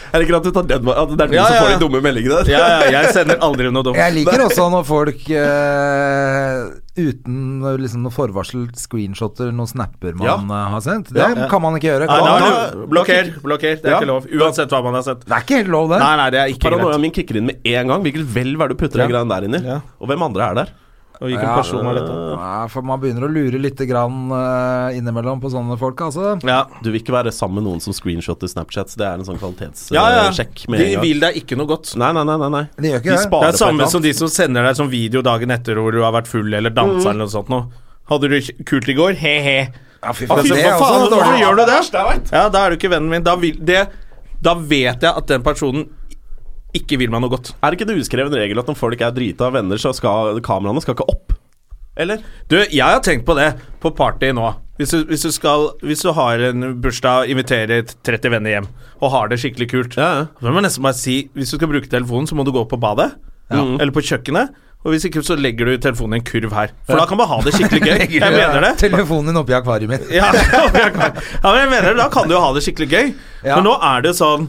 C: Jeg liker at du tar den at det er du
A: Ja,
C: som
A: ja,
C: får
A: ja.
C: de dumme meldingene.
A: ja, ja. Jeg sender aldri noe dumt.
B: Jeg liker også når folk eh, uten eh, liksom, noe forvarsel screenshotter noen snapper man
C: Ja.
B: eh, har sendt. Det kan man ikke gjøre.
A: Nei,
B: Kan
A: da
B: man
A: er
B: det?
A: det blokker, blokker. Det er
C: Ja.
A: ikke lov. Uansett hva man har sett.
B: det er ikke helt lov, det.
A: Nei, nei, det er ikke greit.
C: Paranoiaen min kicker inn med en gang. Hvilket hvelv er det du putter den
A: Ja.
C: greia der inn i?
A: Ja.
C: Og hvem andre er der?
A: Og hvilken
B: Ja.
A: person var dette?
B: Nei, for man begynner å lure litt grann, eh, innimellom på sånne folk, altså.
A: Ja.
C: Du vil ikke være sammen med noen som screenshotter Snapchats. Det er en sånn kvalitetssjekk
A: Ja, ja.
C: med en
A: De
C: gang.
A: vil deg ikke noe godt.
C: Nei, nei, nei. nei, nei.
B: De gjør ikke det.
C: sparer
A: Det er
C: på et eller
A: samme
C: annet.
A: som de som sender deg sånn video dagen etter hvor du har vært full eller dansa
B: Mm.
A: eller noe sånt noe. Hadde du ikke- kult i går? He-he.
B: Ja, fy
A: Hva
B: faen, det er også
A: faen, hvorfor
B: dårlig.
A: gjør du det? altså Ja, da er du ikke vennen min. Da, vil, det, da vet jeg at den personen ikke vil meg noe godt.
C: Er det ikke en uskreven regel at når folk er drita av venner, så skal kameraene skal ikke opp? Eller?
A: Du, jeg har tenkt på det på party nå. Hvis du, hvis du, skal, hvis du har en bursdag, inviterer 30 venner hjem og har det skikkelig kult
C: Ja, ja.
A: Da må jeg nesten bare si Hvis du skal bruke telefonen, så må du gå på badet. Eller på kjøkkenet. Og hvis ikke, så legger du telefonen i en kurv her. For da kan man ha det skikkelig gøy. Jeg mener det.
B: Telefonen din oppi akvariet mitt.
A: Ja, ja, men jeg mener det, da kan du jo ha det skikkelig gøy.
B: Ja.
A: Men nå er det sånn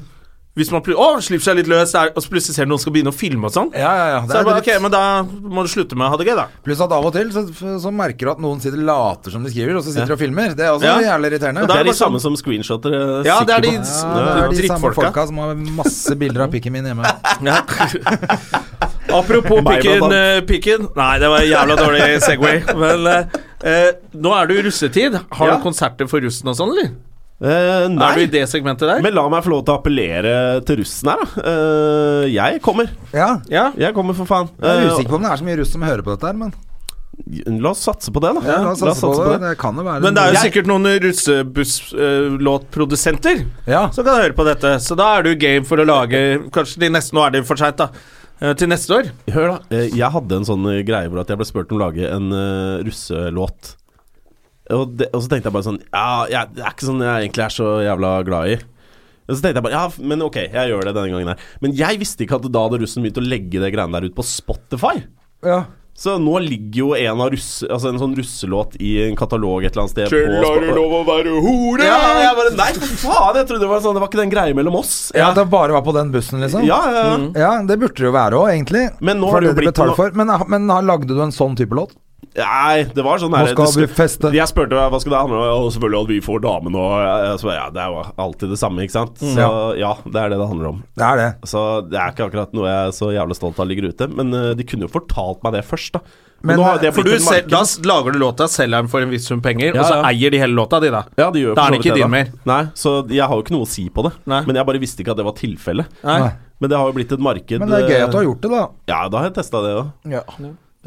A: Hvis man plut- å, slipper seg litt løs, er, og så plutselig ser du noen skal begynne å filme og sånn.
B: Ja, ja, ja. Det
A: Så er det bare,
B: dritt.
A: ok, men da må du slutte med å ha det gøy, da.
B: Pluss at av og til så, så merker du at noen sitter later som de skriver, og så sitter de og filmer. Det er også
A: Ja.
B: jævlig irriterende.
A: Og
C: Det
A: da- er
C: er de
A: bare sånn-
C: samme som screenshotter. eh,
A: Ja, det er
C: sikker
A: de
C: på.
A: s-
B: Ja, det er de samme
A: drittfolka.
B: folka som har masse bilder av pikken min hjemme.
A: Apropos
C: Meg, blant
A: pikken,
C: annet.
A: eh, pikken Nei, det var en jævla dårlig Segway. Men eh, eh, nå er det jo russetid. Har
C: Ja.
A: du konserter for russen og sånn, eller?
C: Eh,
A: Er du i
C: nei.
A: det segmentet der?
C: Men la meg få lov til å appellere til russen her, da. Eh, jeg kommer.
B: Ja.
A: ja.
C: Jeg kommer, for faen.
B: Jeg er
C: Eh,
B: usikker på om det er så mye russ som hører på dette her, men
C: La oss satse på det, da.
B: ja, la oss satse på det. Det kan jo være
A: Men det er jo
B: Jeg-
A: sikkert noen eh, russebusslåtprodusenter
B: Ja.
A: som kan høre på dette. Så da er du game for å lage Kanskje til neste Nå er det for seint, da. Eh, Til neste år.
C: Hør, da. eh, Jeg hadde en sånn eh, greie hvor at jeg ble spurt om å lage en eh, russelåt. Og, det, og så tenkte jeg bare sånn Ja, jeg, det er ikke sånn jeg egentlig er så jævla glad i. Og så tenkte jeg bare Ja, f- men ok, jeg gjør det denne gangen her. Men jeg visste ikke at da hadde russen begynt å legge det greiene der ut på Spotify.
B: Ja.
C: Så nå ligger jo en, av russ, altså en sånn russelåt i en katalog et eller annet sted
A: Har du
C: på
A: lov å være hore?
C: ja, og jeg bare, Nei, for faen! Jeg trodde det var sånn Det var ikke den greia mellom oss.
B: Ja, det bare var på den bussen, liksom?
C: Ja, ja, ja.
A: Mm.
B: Ja, det burde det jo være òg, egentlig.
C: Men nå
B: For
C: har det jo
B: det de
C: blitt
B: betaler
C: noe-
B: for. Men, men har- lagde du en sånn type låt?
C: Nei, det var sånn
B: Nå
C: her-
B: skal
C: det skulle-
B: vi feste.
C: Jeg spurte hva skal det handle om, og selvfølgelig at vi får damene og ja, så, bare, ja, Det er jo alltid det samme, ikke sant? Så
B: Ja.
C: ja, det er det det handler om.
B: Det er det.
C: Så det er ikke akkurat noe jeg er så jævlig stolt av ligger ute, men eh, de kunne jo fortalt meg det først, da.
B: Men,
C: Men, nå har jo det
A: For
C: blitt
A: du
C: en
A: sel-
C: marked.
A: da s- lager du låta, selger den for en viss sum penger,
C: Ja,
A: og så
C: ja.
A: eier de hele låta, de, da.
C: Ja, de gjør
A: Da er
C: for
A: det
C: så vidt
A: ikke din mer.
C: da. Nei, så jeg har jo ikke noe å si på det.
A: Nei.
C: Men jeg bare visste ikke at det var tilfellet.
A: Nei.
C: Men det har jo blitt et marked
B: Men det er gøy at du har
C: eh,
B: gjort det, da.
C: Ja, da har jeg testa det òg.
B: Ja,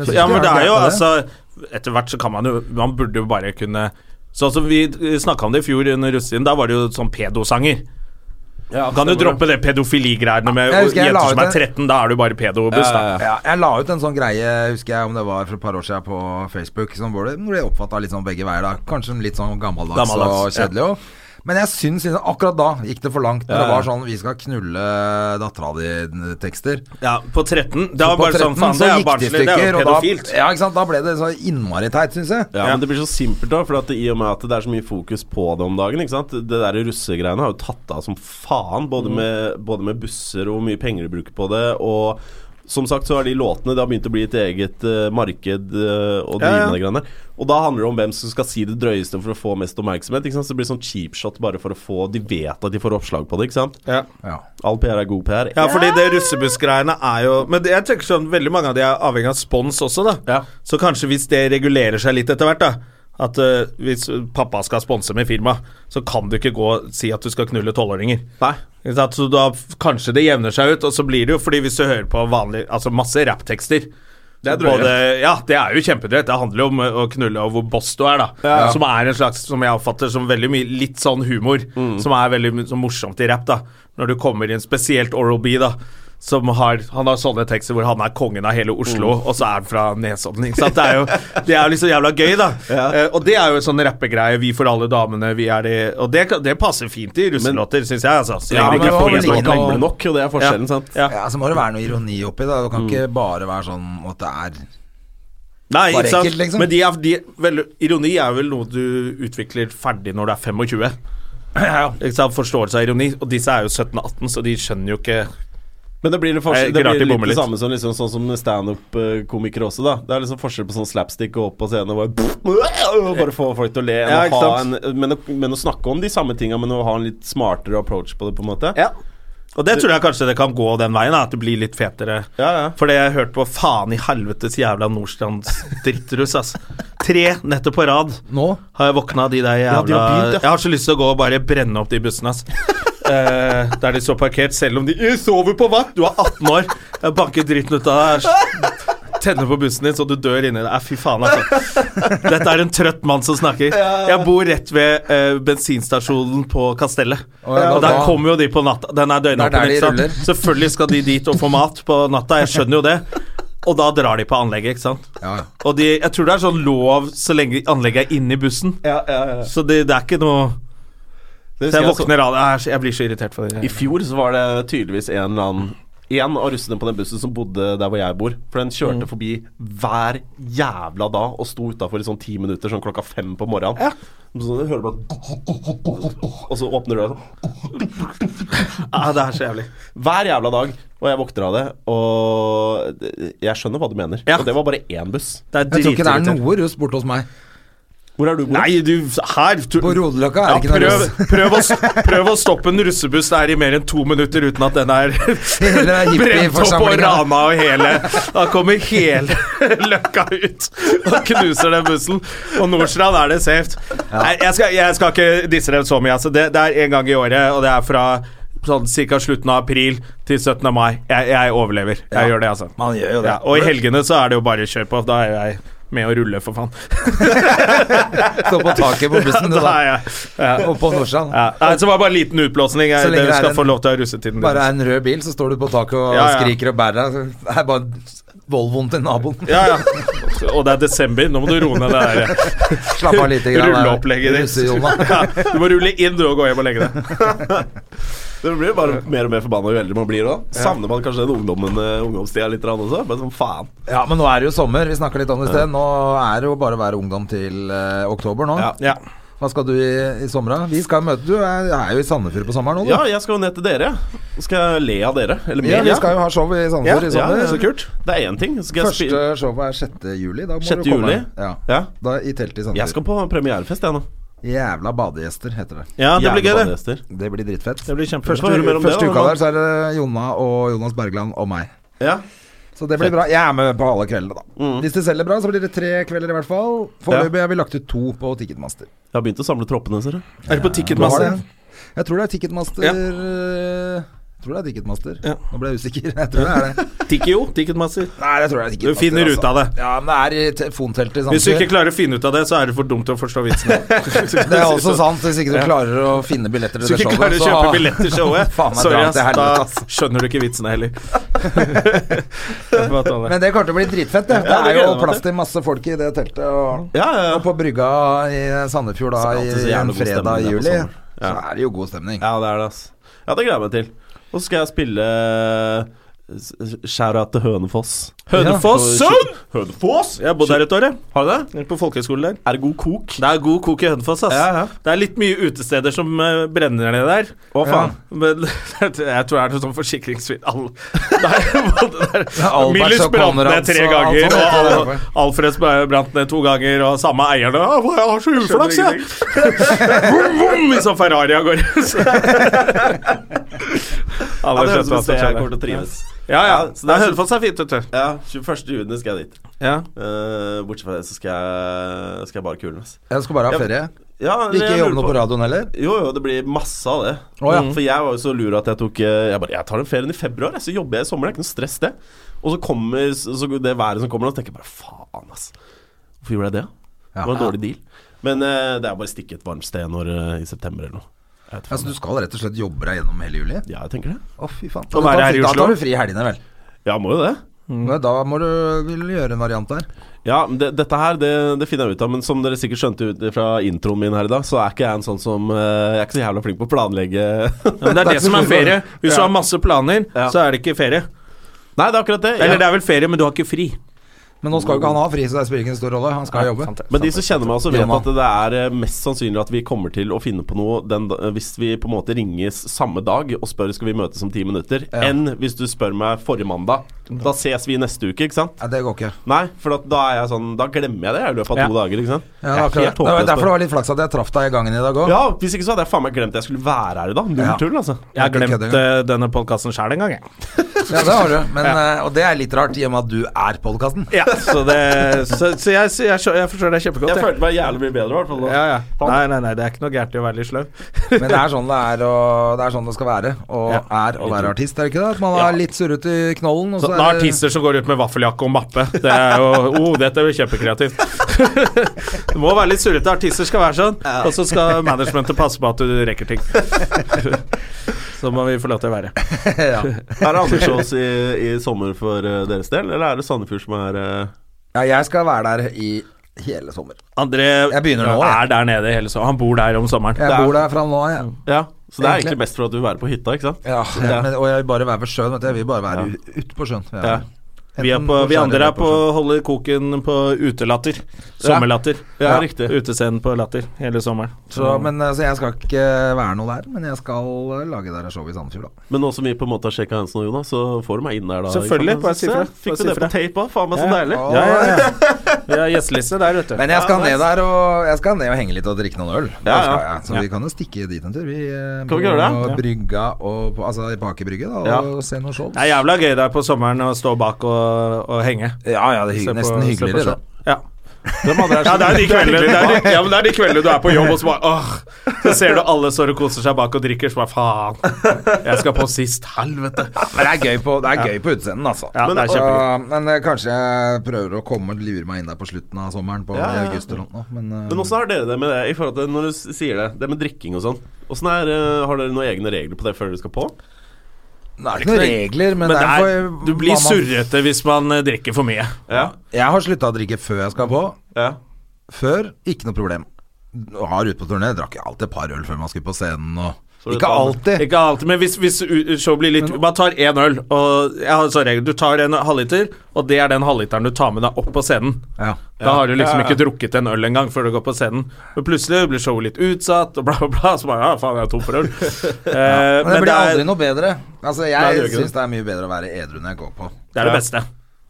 A: Ja, men det er jo altså Etter hvert så kan man jo Man burde jo bare kunne Sånn som vi snakka om det i fjor under russetiden, da var det jo sånn pedosanger. kan du droppe det pedofiligreiene med
B: Jeg husker jeg
A: jenter
B: la ut
A: som er
B: en-
A: 13, da er du bare pedobuss, da.
C: Ja, ja,
B: ja, jeg la ut en sånn greie, husker jeg om det var for et par år siden på Facebook, som hvor det hvor det oppfatta litt sånn begge veier. da Kanskje litt sånn gammeldags,
A: Gammeldags,
B: og kjedelig òg. Men jeg syns syns- akkurat da gikk det for langt. Når det var sånn 'vi skal knulle dattera di'-tekster.
A: Ja, på 13. Da var
B: På
A: bare
B: 13
A: sånn Faen,
B: så
A: det
B: gikk det
A: er jo
B: i
A: barnslig. Det er
B: stykker,
A: jo
B: og da-
A: pedofilt.
B: Ja, ikke sant. Da ble det så innmari teit, syns jeg.
C: Ja, men det blir så simpelt da, for at det, i og med at det er så mye fokus på det om dagen, ikke sant. Det der russegreiene har jo tatt av som faen, både,
A: Mm.
C: med, både med busser og hvor mye penger de bruker på det, og som sagt så har de låtene Det har begynt å bli et eget eh, marked eh, å drive
A: Ja, ja.
C: med det greiene der. Og da handler det om hvem som skal si det drøyeste for å få mest oppmerksomhet, ikke sant. Så det blir sånn cheap shot bare for å få De vet at de får oppslag på det, ikke sant.
A: Ja.
B: Ja.
C: All PR er god PR.
A: Ja, fordi det russebussgreiene er jo Men det- jeg tenker sånn, veldig mange av de er avhengig av spons også, da.
C: Ja.
A: Så kanskje hvis det regulerer seg litt etter hvert, da. At eh, hvis pappa skal sponse med firma, så kan du ikke gå og si at du skal knulle tolvåringer.
C: Nei.
A: Ikke sant? Så da f- kanskje det jevner seg ut, og så blir det jo fordi hvis du hører på vanlig Altså masse rapptekster
C: Det er drøye.
A: Både- Ja, det er jo kjempedrøyt. Det handler jo om eh, å knulle og hvor boss du er, da. Som er en slags, som jeg oppfatter som veldig mye litt sånn humor.
C: Mm.
A: Som er veldig my- så morsomt i rapp, da. Når du kommer inn, spesielt Oral B, da. Som har, han har sånne tekster hvor han er kongen av hele Oslo,
C: Mm.
A: og så er han fra Nesodden. Ikke sant? Det er jo det er jo liksom jævla gøy, da. Eh, og det er jo en sånn rappegreie. Vi for alle damene, vi er de Og det, kan- det passer fint i russelåter, syns jeg, altså. Så lenge
C: Ja, men
A: det
C: det
A: ikke
C: var
A: er
C: vel
A: for
C: ingen
A: jævla
C: gamle
A: gamle nok.
C: nok, og det er forskjellen, sant.
A: Ja. Mm.
B: Ja, så må det være noe ironi oppi det. Det kan ikke bare være sånn at det er
A: Nei,
B: Bare
A: ikke sant.
B: ekkelt, liksom.
A: Men de er, de, vel, ironi er vel noe du utvikler ferdig når du er 25. Ikke sant? Forståelse av ironi. Og disse er jo 17-18, så de skjønner jo ikke
C: Men det blir, litt forskjell,
A: Jeg
C: det
A: klarte
C: blir
A: å bomme
C: litt det
A: litt.
C: samme som liksom, sånn som standup-komikere også, da. Det er liksom forskjell på sånn slapstick og opp på scenen og bare, øh, og bare få folk til å le. enn
A: Ja,
C: å
A: ikke
C: ha en,
A: sant?
C: men, å, men å snakke om de samme tinga, men å ha en litt smartere approach på det, på en måte.
A: Ja. Og det tror jeg kanskje det kan gå den veien, da, at det blir litt fetere.
C: Ja, ja.
A: For det jeg hørte på faen i helvetes jævla Nordstrands drittruss, ass. Tre netter på rad
B: Nå?
A: har jeg våkna av de der
C: Ja, de
A: jævla
C: har begynt, ja.
A: Jeg har så lyst til å gå og bare brenne opp de bussene, ass. Eh, der de står parkert, selv om de «Jeg sover på vakt! Du er 18 år! Jeg banker dritten ut av deg. Tenner på bussen din så du dør inni deg. Eh, Fy faen, altså. Dette er en trøtt mann som snakker. Jeg bor rett ved eh, bensinstasjonen på Kastellet.
B: Å, ja, da-
A: og der
B: da-
A: kommer jo de på natta. Den er
B: Det er der
A: døgnåpen.
B: de
A: ikke sant?
B: ruller.
A: Selvfølgelig skal de dit og få mat på natta, jeg skjønner jo det. Og da drar de på anlegget, ikke sant.
B: Ja.
A: Og de, jeg tror det er sånn lov så lenge anlegget er inne i bussen. Så det, det er ikke noe
C: Det
A: Så
C: husker
A: jeg
C: jeg så-
A: våkner av det. Jeg er så- Jeg blir så irritert for
C: I
A: det.
C: fjor så var det tydeligvis en eller annen en av russene på den bussen som bodde der hvor jeg bor. For den
A: Mm.
C: kjørte forbi hver jævla dag og sto utafor i sånn ti minutter, sånn klokka fem på morgenen. Så du hører bare Og så åpner døra sånn. ah,
A: Ja, det er så jævlig.
C: Hver jævla dag. Og jeg våkner av det, og jeg skjønner hva du mener.
A: Ja.
C: Og det var bare én buss.
A: Det er
B: Jeg tror ikke det er
A: dritirriterende.
B: noe russ borte hos meg.
C: Hvor er du bor?
A: Nei, du Her du,
B: På Rodeløkka
A: ja,
B: er det ikke noe
A: prøv,
B: russ.
A: prøv, å, s- prøv å stoppe en russebuss der i mer enn to minutter uten at den er
B: Hele den
A: brent opp og
B: hippieforsamlingen.
A: rana og hele Da kommer hele løkka ut og knuser den bussen. Og Nordstrand er det safe. Nei, jeg skal, jeg skal ikke disse dem så mye. Altså. Det, det er en gang i året, og det er fra sånn ca. slutten av april til 17. mai. Jeg, jeg overlever. Jeg gjør det, altså.
B: Man gjør jo det.
A: Ja, og i helgene så er det jo bare kjør på. Da er jeg med å rulle, for faen.
B: Stå på taket på bussen, du,
A: Da
B: da.
A: er jeg ja.
B: Og på Nordstrand.
A: Ja. Nei, så var det bare en liten utblåsning.
B: Så
A: Jeg,
B: lenge
A: dere
B: det er
A: skal
B: en-
A: få lov til å ha russetiden
B: Bare
A: deres.
B: er en rød bil, så står du på taket og
A: Ja, ja.
B: skriker og bærer deg. Det er bare Volvoen til naboen.
A: Ja, ja. Og det er desember. Nå må du roe ned det der
B: Slapp av lite grann.
A: rulleopplegget ditt.
B: Russe, Jonna.
A: Ja, du må rulle inn du og gå hjem og legge deg.
C: Det blir jo bare mer og mer forbanna jo eldre man blir òg. Savner man kanskje den ungdommen, eh, ungdomstida litt grann også? Bare sånn faen.
B: Ja, men nå er det jo sommer. Vi snakka litt om det i sted. Nå er det jo bare å være ungdom til eh, oktober nå.
C: Ja.
A: Ja.
B: Hva skal du i, i sommer, da? Vi skal møte Du er, er jo i Sandefjord på sommeren nå, du.
C: Ja, jeg skal jo ned til dere. Så skal jeg le av dere. Eller mer.
B: Ja, vi skal jo ha show i
C: ja,
B: Sandefjord i
C: ja,
B: sommer.
C: så kult. Det er én ting. Så skal jeg
B: Første
C: spille
B: showet er 6. juli. Da må
C: 6.
B: du komme.
C: juli?
B: Ja.
C: Ja.
B: Da I telt i
C: Jeg
B: Sandefjord.
C: skal på premierefest, jeg nå.
B: Jævla badegjester, heter det.
A: Ja, det blir gøy, det.
C: Gjernebadehester.
B: Det blir dritfett.
A: Det blir kjempefint.
C: Få høre mer om det,
B: Første
C: da,
B: uka
C: Herman.
B: der så er det Jonna og Jonas Bergland og meg.
C: Ja.
B: Så det blir bra. Jeg er med på alle kveldene, da.
A: Mm.
B: Hvis det selger bra, så blir det tre kvelder i hvert fall. Foreløpig har vi lagt ut to på Ticketmaster.
C: Jeg har begynt å samle troppene, ser du.
A: Er det
B: Hva
A: på
B: var
A: Ticketmaster?
B: det? Jeg tror det er Ticketmaster
A: Ja.
B: eh, Jeg tror det er Ticketmaster.
A: Ja.
B: Nå ble jeg usikker. Jeg tror det er det.
A: Tikkio? Ticketmaster.
B: Nei, jeg tror det er Ticketmaster. altså.
A: Du finner ut av det.
B: Ja, men det er i telefonteltet i
A: Hvis du ikke
B: Sandefjord.
A: klarer å finne ut av det, så er det for dumt å forstå vitsen.
B: Det er også sant. Hvis ikke du klarer å finne billetter
A: Hvis
B: til
A: du
B: det
A: ikke klarer
B: showet,
A: å kjøpe billett til showet,
B: Faen meg
A: sorry,
B: dra
A: ass,
B: til helvete,
A: da
B: ass.
A: skjønner du ikke vitsene heller. Jeg får bare ta det.
B: Men det kommer til å bli dritfett, det. Det
C: Ja,
B: er jo
C: det gleder jeg meg
B: plass til masse folk i det teltet. Og,
C: Ja, ja, ja.
B: og på brygga i Sandefjord da
C: Så alltid så
B: i en
C: jævlig god stemning
B: fredag
C: der
B: i
C: på
B: juli,
C: sommeren.
B: så er det jo god stemning.
C: Ja, det er det, ass. Ja, det gleder jeg meg til. Og så skal jeg spille Shout-out til Hønefoss.
A: Hønefoss,
C: Ja.
A: sønn! Hønefoss? Jeg har bodd der et år, jeg.
C: Har du det?
A: Jeg gikk På folkehøyskole der.
C: Er det god kok?
A: Det er god kok i Hønefoss, ass.
C: Ja, ja.
A: Det er litt mye utesteder som eh, brenner ned der.
C: Å, faen.
A: Men jeg tror det er noe sånn forsikringssvinn Alle- Det er både der.
B: Alberts
A: Millers
B: og
A: brant ned
B: Konrads
A: tre
B: og alt
A: ganger,
B: sånt.
A: og Al- Alfreds brant ned to ganger, og samme eierne «Å, hva, Jeg har så uflaks, jeg! Vom, vom, I sånn Ferrari av gårde.
C: Ja,
A: Alle
C: det høres
A: skjønte hva som
C: ut som et sted jeg
A: skjedde.
C: kommer til å trives.
A: Ja, ja.
C: så det er
A: Hønefoss er fint, vet du.
C: Ja, 21. juni skal jeg dit.
A: Ja.
C: Eh, bortsett fra det, så skal jeg, skal jeg bare kule, ass.
B: Jeg skal bare
C: Ja.
B: ha ferie.
C: Ja,
B: Du Ikke
C: jeg lurer
B: jobbe noe på radioen heller?
C: Jo, jo, det blir masse av det.
B: Å, ja.
C: Mm. For jeg var jo så lur at jeg tok eh, Jeg bare, jeg tar den ferien i februar, jeg, så jobber jeg i sommer. Det er ikke noe stress, det. Og så kommer så så det været som kommer, og så tenker jeg bare faen, ass. Hvorfor gjorde jeg det? Det var en dårlig deal. Men eh, det er bare å stikke et varmt sted når, eh, i september eller noe. Jeg vet
B: Ja, så
C: faen.
B: du skal rett og slett jobbe deg gjennom hele juli?
C: Ja, jeg tenker det.
B: Å, fy faen.
A: Og være
B: da,
A: her i
B: da
A: Oslo?
B: tar du fri i helgene, vel.
C: Ja, må jo det.
B: Men Da må du vil du gjøre en variant der.
C: Ja, men det, dette her, det, det finner jeg ut av. Men som dere sikkert skjønte ut fra introen min her i dag, så er ikke jeg en sånn som eh, Jeg er ikke så jævla flink på å planlegge
A: Ja, men det er det som er ferie. Hvis du har masse planer,
C: Ja.
A: så er det ikke ferie.
C: Nei, det er akkurat det.
A: Eller
C: Jeg-
A: det er vel ferie, men du har ikke fri.
B: Men nå skal jo ikke han ha fri, så det spiller ingen stor rolle. Han skal jobbe.
C: Men de som kjenner meg også vet
B: Jonna.
C: at det er eh, mest sannsynlig at vi kommer til å finne på noe den, da- hvis vi på en måte ringes samme dag og spør skal vi møtes om ti minutter, enn hvis du spør meg forrige mandag. Da ses vi neste uke, ikke sant?
B: Nei, det går ikke.
C: Nei, for at da er jeg sånn Da glemmer jeg det jeg, i løpet av to
A: Ja.
C: dager, ikke sant?
B: Ja,
C: Jeg er
B: akkurat.
C: helt
B: det var
C: håpløs
B: derfor
C: på-
B: det var litt flaks at jeg traff deg i gangen i dag òg.
C: Ja, hvis ikke så hadde jeg faen meg glemt at jeg skulle være her i dag. Null
B: Ja.
C: tull, altså.
A: Jeg har
B: Jeg
A: glemt
B: kødder
A: eh, denne podkasten sjæl en gang, jeg.
B: Ja, det har du. Men, eh, Og det er litt rart, i og med at du er podkasten.
A: Ja, så det, så, så jeg, så jeg, skjø- jeg forstår deg kjempegodt.
C: Jeg følte meg jævlig mye bedre, i hvert fall. da.
A: ja, ja. Nei, nei, nei, det er ikke noe gærent i å være litt sløv.
B: Men det er sånn det er, og det er sånn det skal være. Og er å være artist, er det ikke det? At man er litt surret i knollen, og
A: Så,
B: så
A: nå
B: er det
A: artister som går ut med vaffeljakke og mappe. Det er jo Oh, dette er jo kjempekreativt. Du må være litt surrete. Artister skal være sånn. Og så skal managementet passe på at du rekker ting. Så må vi få lov til å være.
B: ja.
C: Er det andre shows i, i sommer for eh, deres del, eller er det Sandefjord som er eh,
B: ja, jeg skal være der i hele sommer.
A: André
B: Jeg begynner nå, jeg.
A: er der nede hele sommeren. Han bor der om sommeren.
B: Jeg bor der fra nå av, jeg.
C: Ja, så det er
B: Egentlig.
C: egentlig best for at du vil være på hytta, ikke sant?
B: Ja, ja, men, og jeg vil bare være ved sjøen. Vet du. Jeg vil bare være ja. ute på sjøen. Ja.
C: Ja.
A: Vi, er
B: Enten
A: på, vi
B: skjæret
A: andre
B: eller
A: er på holder koken på utelatter. Sommerlatter.
C: Ja, riktig.
A: Utescenen på latter hele sommeren.
B: Så, men, eh, så jeg skal ikke være noe der, men jeg skal eh, lage der et show i Sandefjord, da.
C: Men nå som vi på en måte har sjekka Hansen og Jonas, så får du meg inn der da.
A: Selvfølgelig,
C: Ikke
A: bare si fra.
C: sant? Se, Fikk
A: Bare si
C: du det på
A: fra.
C: tape òg? Faen meg så deilig.
B: Å,
A: Ja, ja, ja. Vi har gjesteliste der, vet du.
B: Men jeg skal ned der og Jeg skal ned og henge litt og drikke noen øl. Det
C: Ja, ja.
B: skal jeg. Så vi kan jo stikke dit en tur. Vi eh,
C: Kan vi ikke gjøre det?
B: på brygga og på, Altså på Aker Brygge, da, og
C: Ja.
B: se noen shows.
A: Det er jævla gøy der på sommeren å stå bak og, og henge.
B: Ja, ja, det er
A: Se på-
B: hygg- nesten
A: se på
B: hyggeligere,
A: show.
B: det.
A: Ja. Ja, det er de kveldene det er de, ja, men det er de kveldene du er på jobb, og så bare åh, Så ser du alle står og koser seg bak og drikker, så bare faen. Jeg skal på sist. Helvete.
B: Ah, Men det er gøy på, det er gøy på utsenden, altså.
A: Ja, det er
B: Og,
A: kjempegøy.
B: men eh, kanskje jeg prøver å komme og lure meg inn der på slutten av sommeren, på
C: Ja, ja, ja.
B: august eller noe. Men, eh,
C: Men åssen har dere det med det i forhold til når du s- sier det, det med drikking og sånn? Åssen er eh, Har dere noen egne regler på det før dere skal på?
B: det er ikke noen regler, men,
A: Men det
B: det er
A: er,
B: for
A: du blir
B: hva man-
A: surrete hvis man eh, drikker for mye.
C: Ja.
B: Jeg har slutta å drikke før jeg skal på.
C: ja.
B: Før, ikke noe problem. Har ute på turné, drakk jeg alltid et par øl før man skulle på scenen. Og
C: Så du
B: Ikke
C: tar-
B: alltid.
A: Ikke alltid, men hvis, hvis u- showet blir litt Man tar én øl, og jeg har sånn regel Du tar en halvliter, og det er den halvliteren du tar med deg opp på scenen.
B: Ja.
A: Da har du liksom
C: Ja, ja.
A: ikke drukket en øl engang før du går på scenen. Men plutselig blir showet litt utsatt, og bla, bla, bla. Så bare Ja, faen, jeg er tom for øl. Eh,
B: Men det blir
A: er,
B: aldri noe bedre. Altså,
A: Nei, det gjør
B: jeg
A: ikke
B: syns det er mye bedre å være edru når jeg går på.
A: det er det beste.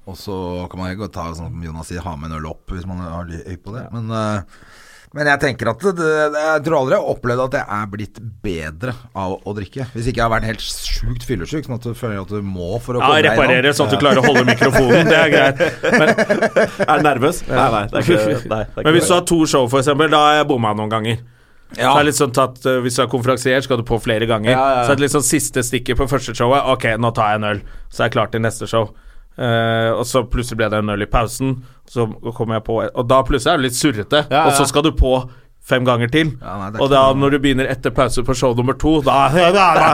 B: Og så kan man ikke ta, sånn som Jonas sier, ha med en øl opp hvis man har ly- øye på det. Men, eh, men jeg tenker at det, det- Jeg tror aldri jeg har opplevd at jeg er blitt bedre av å drikke. Hvis ikke jeg har vært helt sjukt fyllesyk, sånn at du føler at du må for å
A: Ja,
B: komme deg
A: reparere sånn at du klarer å holde mikrofonen. Det er greit.
C: Er du nervøs? Nei, nei. Det er ikke, nei, det er ikke
A: Men hvis du har to show, for eksempel, da har jeg bomma noen ganger. Så er det litt sånn tatt, eh, Hvis du er konferansier, skal du på flere ganger.
C: Ja, ja, ja.
A: Så er det litt sånn siste stikket på første showet. Ok, nå tar jeg en øl. Så er jeg klar til neste show. Eh, og så plutselig ble det en øl i pausen. Så kommer jeg på Og da plutselig er du litt surrete.
C: Ja, ja.
A: Og så skal du på fem ganger til.
B: Ja, nei, det er
A: og
B: ikke
A: da når du begynner etter pause på show nummer to, da, da, da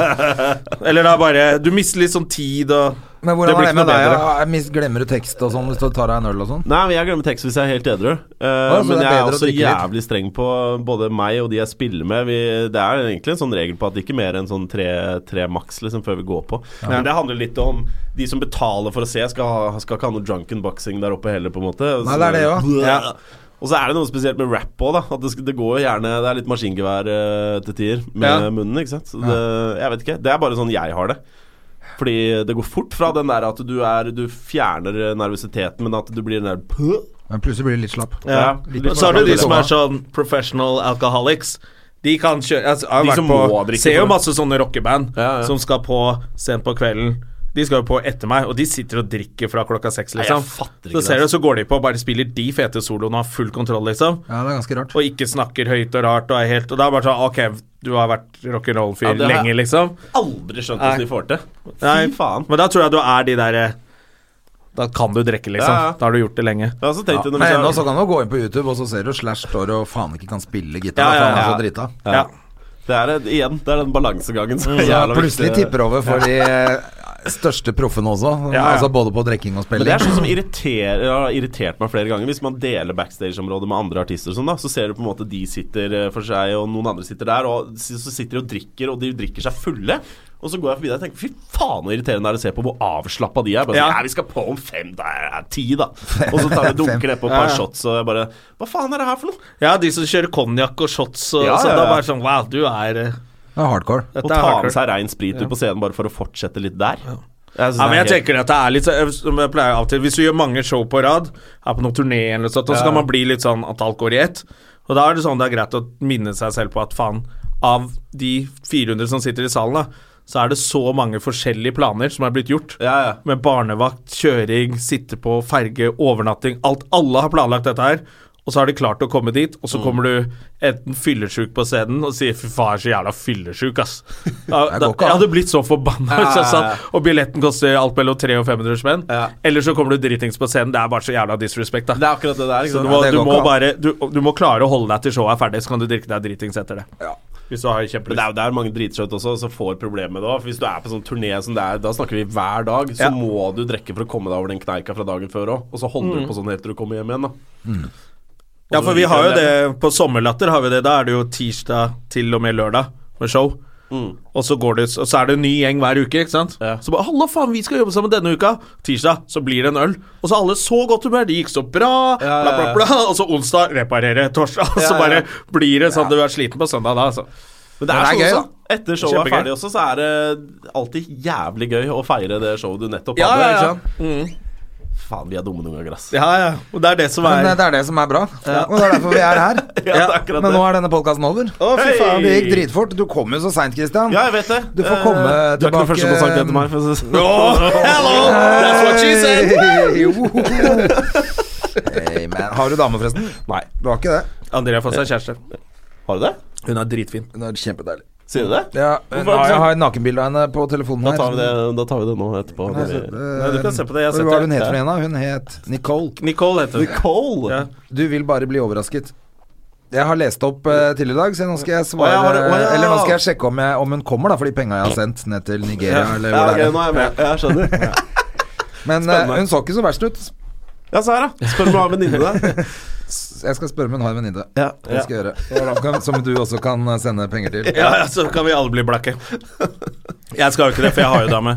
A: Eller da bare Du mister litt sånn tid og
B: Men hvordan
A: blir
B: er det
A: ikke
B: med
A: noe
B: deg?
A: bedre.
B: Jeg mis- Glemmer du tekst og sånn hvis du tar deg en øl og sånn?
C: Nei, men jeg glemmer tekst hvis jeg er helt edru. Eh,
B: så
C: men
B: det er
C: jeg er
B: bedre å
C: også
B: drikke litt.
C: jævlig streng på både meg og de jeg spiller med. Vi, det er egentlig en sånn regel på at ikke mer enn sånn tre, tre maks liksom, før vi går på. Men det handler litt om de som betaler for å se, skal, ha- skal ikke ha noe drunken boxing der oppe heller, på en måte.
B: Nei, det er det også.
C: Ja. Og så er det noe spesielt med rap òg, da. At det, sk- det går jo gjerne Det er litt maskingevær eh, til tider med
A: Ja.
C: munnen, ikke sant. Så det, jeg vet ikke. Det er bare sånn jeg har det. Fordi det går fort fra den der at du er Du fjerner eh, nervøsiteten, men at du blir den der «Puh!»
B: Men plutselig blir du litt slapp.
A: Ja.
B: Litt
A: Men Så har du de
B: slapp.
A: som er sånn professional alcoholics. De kan kjøre altså, jeg har
C: De
A: vært
C: som
A: på,
C: må drikke
A: Ser jo
C: for det.
A: masse sånne rockeband
C: Ja, ja.
A: som skal på sent på kvelden. De skal jo på etter meg, og de sitter og drikker fra klokka seks,
C: jeg
A: liksom.
C: fatter
A: så
C: ikke det,
A: ser du, så går de på og bare spiller de fete soloene og har full kontroll, liksom.
B: Ja, det er ganske rart.
A: Og ikke snakker høyt og rart og er helt Og da er det bare sånn Ok, du har vært rock'n'roll-fyr
C: Ja, det har jeg-
A: lenge, liksom.
C: aldri skjønt hvordan de får til. Fy
A: Nei.
C: faen.
A: Men da tror jeg du er de derre Da kan du drikke, liksom.
C: Ja, ja.
A: Da har du gjort det lenge.
C: Jeg har også tenkt det når
B: Men ennå
C: vi
B: så
C: sa
B: kan du gå inn på YouTube, og så ser du Slash står og faen ikke kan spille gitar.
A: Ja,
B: for
A: ja,
B: han er
C: ja.
B: så drita.
A: Ja.
C: Det er det- igjen det er den balansegangen som er
B: Så
C: jævla
B: Mm. plutselig
C: viktig.
B: tipper over for de eh, største proffene også.
A: ja.
B: Altså både på drikking og
C: Men det
B: spilling.
C: er sånn som irriterer, har irritert meg flere ganger. Hvis man deler backstage-området med andre artister, og sånn da så ser du på en måte de sitter eh, for seg, og noen andre sitter der, og s- så sitter de og drikker, og de drikker seg fulle. Og så går jeg forbi der og tenker fy faen så irriterende det er å se på hvor avslappa de er. Bare, sånn,
A: Ja.
C: ja, vi skal på om fem, det er ti, da. Og så tar vi dunker ned på et
A: Ja,
C: par
A: ja.
C: shots, og jeg bare Hva faen er det her for noe?
A: Ja, de som kjører konjakk og shots og
C: Ja,
A: sånn.
C: ja,
A: Da
C: ja.
A: bare sånn Wow, du er eh,
B: Det er hardcore.
C: Å
A: Dette er
C: ta
A: hardcore.
C: med seg rein sprit ut på scenen bare for å fortsette litt der. Jeg synes
A: Ja,
C: det
A: men
C: er
A: jeg
C: helt-
A: tenker at det er litt så- Som jeg pleier av og til Hvis du gjør mange show på rad, er på noen turné eller noe sånt, og så kan man bli litt sånn at alt går i ett. Og da er det sånn det er greit å minne seg selv på at faen, av de 400 som sitter i salen, da, så er det så mange forskjellige planer som er blitt gjort.
C: Ja, ja.
A: Med barnevakt, kjøring, sitte på ferge, overnatting. Alt. Alle har planlagt dette her. Og så har de klart å komme dit, og så kommer du enten fyllesjuk på scenen og sier 'fy faen, jeg er så jævla fyllesjuk', ass. Da,
B: går
A: da,
B: ikke
A: jeg
B: an.
A: hadde blitt så forbanna. hvis jeg
C: ja, ja.
A: satt, og billetten koster alt mellom 300 og 500 spenn.
C: Ja.
A: Eller så kommer du dritings på scenen. Det er bare så jævla disrespect, da.
C: Det er akkurat det der.
A: så du
C: Ikke sant?
A: må,
B: Ja, det
A: du
B: går
A: må
B: ikke an.
A: bare du, du må klare å holde deg til showet er ferdig, så kan du drikke deg dritings etter det. Hvis du har
C: Men det
A: kjempelyst.
C: er jo der mange dritshout også som får problemer med det også. For Hvis du er på sånn turné som det er, da snakker vi hver dag, så
A: Ja.
C: må du drikke for å komme deg over den kneika fra dagen før òg. Og så holder
A: Mm.
C: du på sånn helt til du kommer hjem igjen, da.
A: Ja, for vi har jo det på Sommerlatter. har vi det Da er det jo tirsdag til og med lørdag med show. Og, så går det, og så er det en ny gjeng hver uke. ikke sant?
C: Mm. Ja.
A: Så bare 'Halla, faen, vi skal jobbe sammen denne uka.' Tirsdag så blir det en øl. Og så er alle så godt humør. Det gikk så bra.
C: Ja, ja,
A: Bla, bla,
C: ja.
A: bla. Og så onsdag reparere. Torsdag. Og
C: Ja,
A: så
C: ja,
A: bare
C: ja.
A: blir det sånn at du er sliten på søndag da. altså.
C: Men
B: Men
C: det er,
B: det er
C: sånn
B: gøy,
C: også. Etter showet er
A: Kjempegøy.
C: ferdig også, så er det alltid jævlig gøy å feire det showet du nettopp
A: Ja,
C: hadde.
A: ja, ja.
C: ikke sant? Faen, vi er dumme noen ganger, ass.
A: Ja, ja. Og det er det som er
B: Men eh, det er det som er bra, og det er derfor vi er her.
C: Ja, det er akkurat
B: Men
C: det.
B: nå er denne podkasten over. Å,
C: fy faen.
B: Det gikk dritfort. Du kom jo så seint, Christian.
C: Ja, jeg vet det.
B: Du får komme
C: Eh, Du er ikke den
B: tilbake.
C: første som har sagt det sånn. til meg. For å si-
A: Åh, hello! That's what she said!
B: Hey, Hey, man. Har du dame, forresten? Nei. Du har ikke det?
A: Andrea får seg kjæreste.
C: Har du det?
A: Hun er dritfin.
B: Hun er kjempedeilig.
C: Sier du det?
B: Ja, eh, nå,
C: Hvorfor er det
B: jeg
C: sånn?
B: har et nakenbilde av henne på telefonen
C: Da
B: her.
C: tar, vi det, da tar vi det nå etterpå.
B: Nei,
C: når
B: så-
C: vi-
B: eh,
C: Nei, du kan se på det. Jeg har sett
B: Hva var det hun
C: det.
B: het for en, da? Hun het Nicole.
A: Nicole heter hun.
C: Nicole!
A: Ja.
B: Du vil bare bli overrasket. Jeg har lest opp eh, til i dag, så nå skal jeg svare
C: Å, ja, var det- å, ja.
B: Eller nå skal jeg sjekke om, jeg, om hun kommer, da, for de penga jeg har sendt ned til Nigeria. Eller
C: Ja,
B: hvor
C: ok,
B: det er.
C: nå er jeg med. Jeg skjønner.
B: Men eh, hun så ikke så verst ut.
C: Ja, se her, da. Spør om du har venninne der.
B: Jeg skal spørre om hun har en venninne.
C: Ja,
B: Det skal jeg gjøre. Kan- Som du også kan eh, sende penger til.
A: Ja, ja, så kan vi alle bli blakke. Jeg skal jo ikke det, for jeg har jo dame.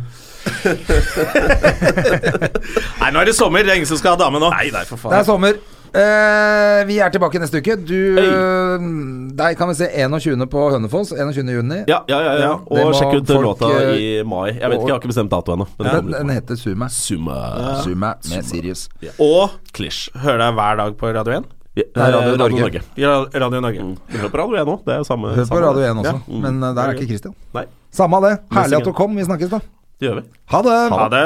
A: Nei, nå er det sommer. Det er ingen som skal ha dame nå. Nei, nei, for
B: Det er sommer. Eh, vi er tilbake neste uke. Du
A: Øy.
B: eh, Deg kan vi se 21. på Hønefoss. 21. juni.
C: Ja, ja, ja, ja.
B: Det må
C: Og sjekk ut
B: folk,
C: låta
B: eh,
C: i mai. Jeg vet ikke, jeg har ikke bestemt dato ennå. men det
B: Den,
C: kommer litt
B: den
C: på.
B: heter Suma.
C: Summa
B: Suma med Sirius.
A: Og Klish. Hører deg hver dag på Radio 1.
C: Ja,
B: er Radio
C: eh,
B: Norge.
A: Ja, Radio Norge.
C: Vi hører på Radio 1 nå. Det er jo samme
B: Hør på
C: samme-
B: Radio 1 også,
C: Ja. Mm.
B: men eh, der er ikke Christian.
C: Nei,
B: Samme av det. Herlig
C: Messingen.
B: at du kom. Vi snakkes, da.
C: det gjør vi.
B: Ha det!
A: Ha det.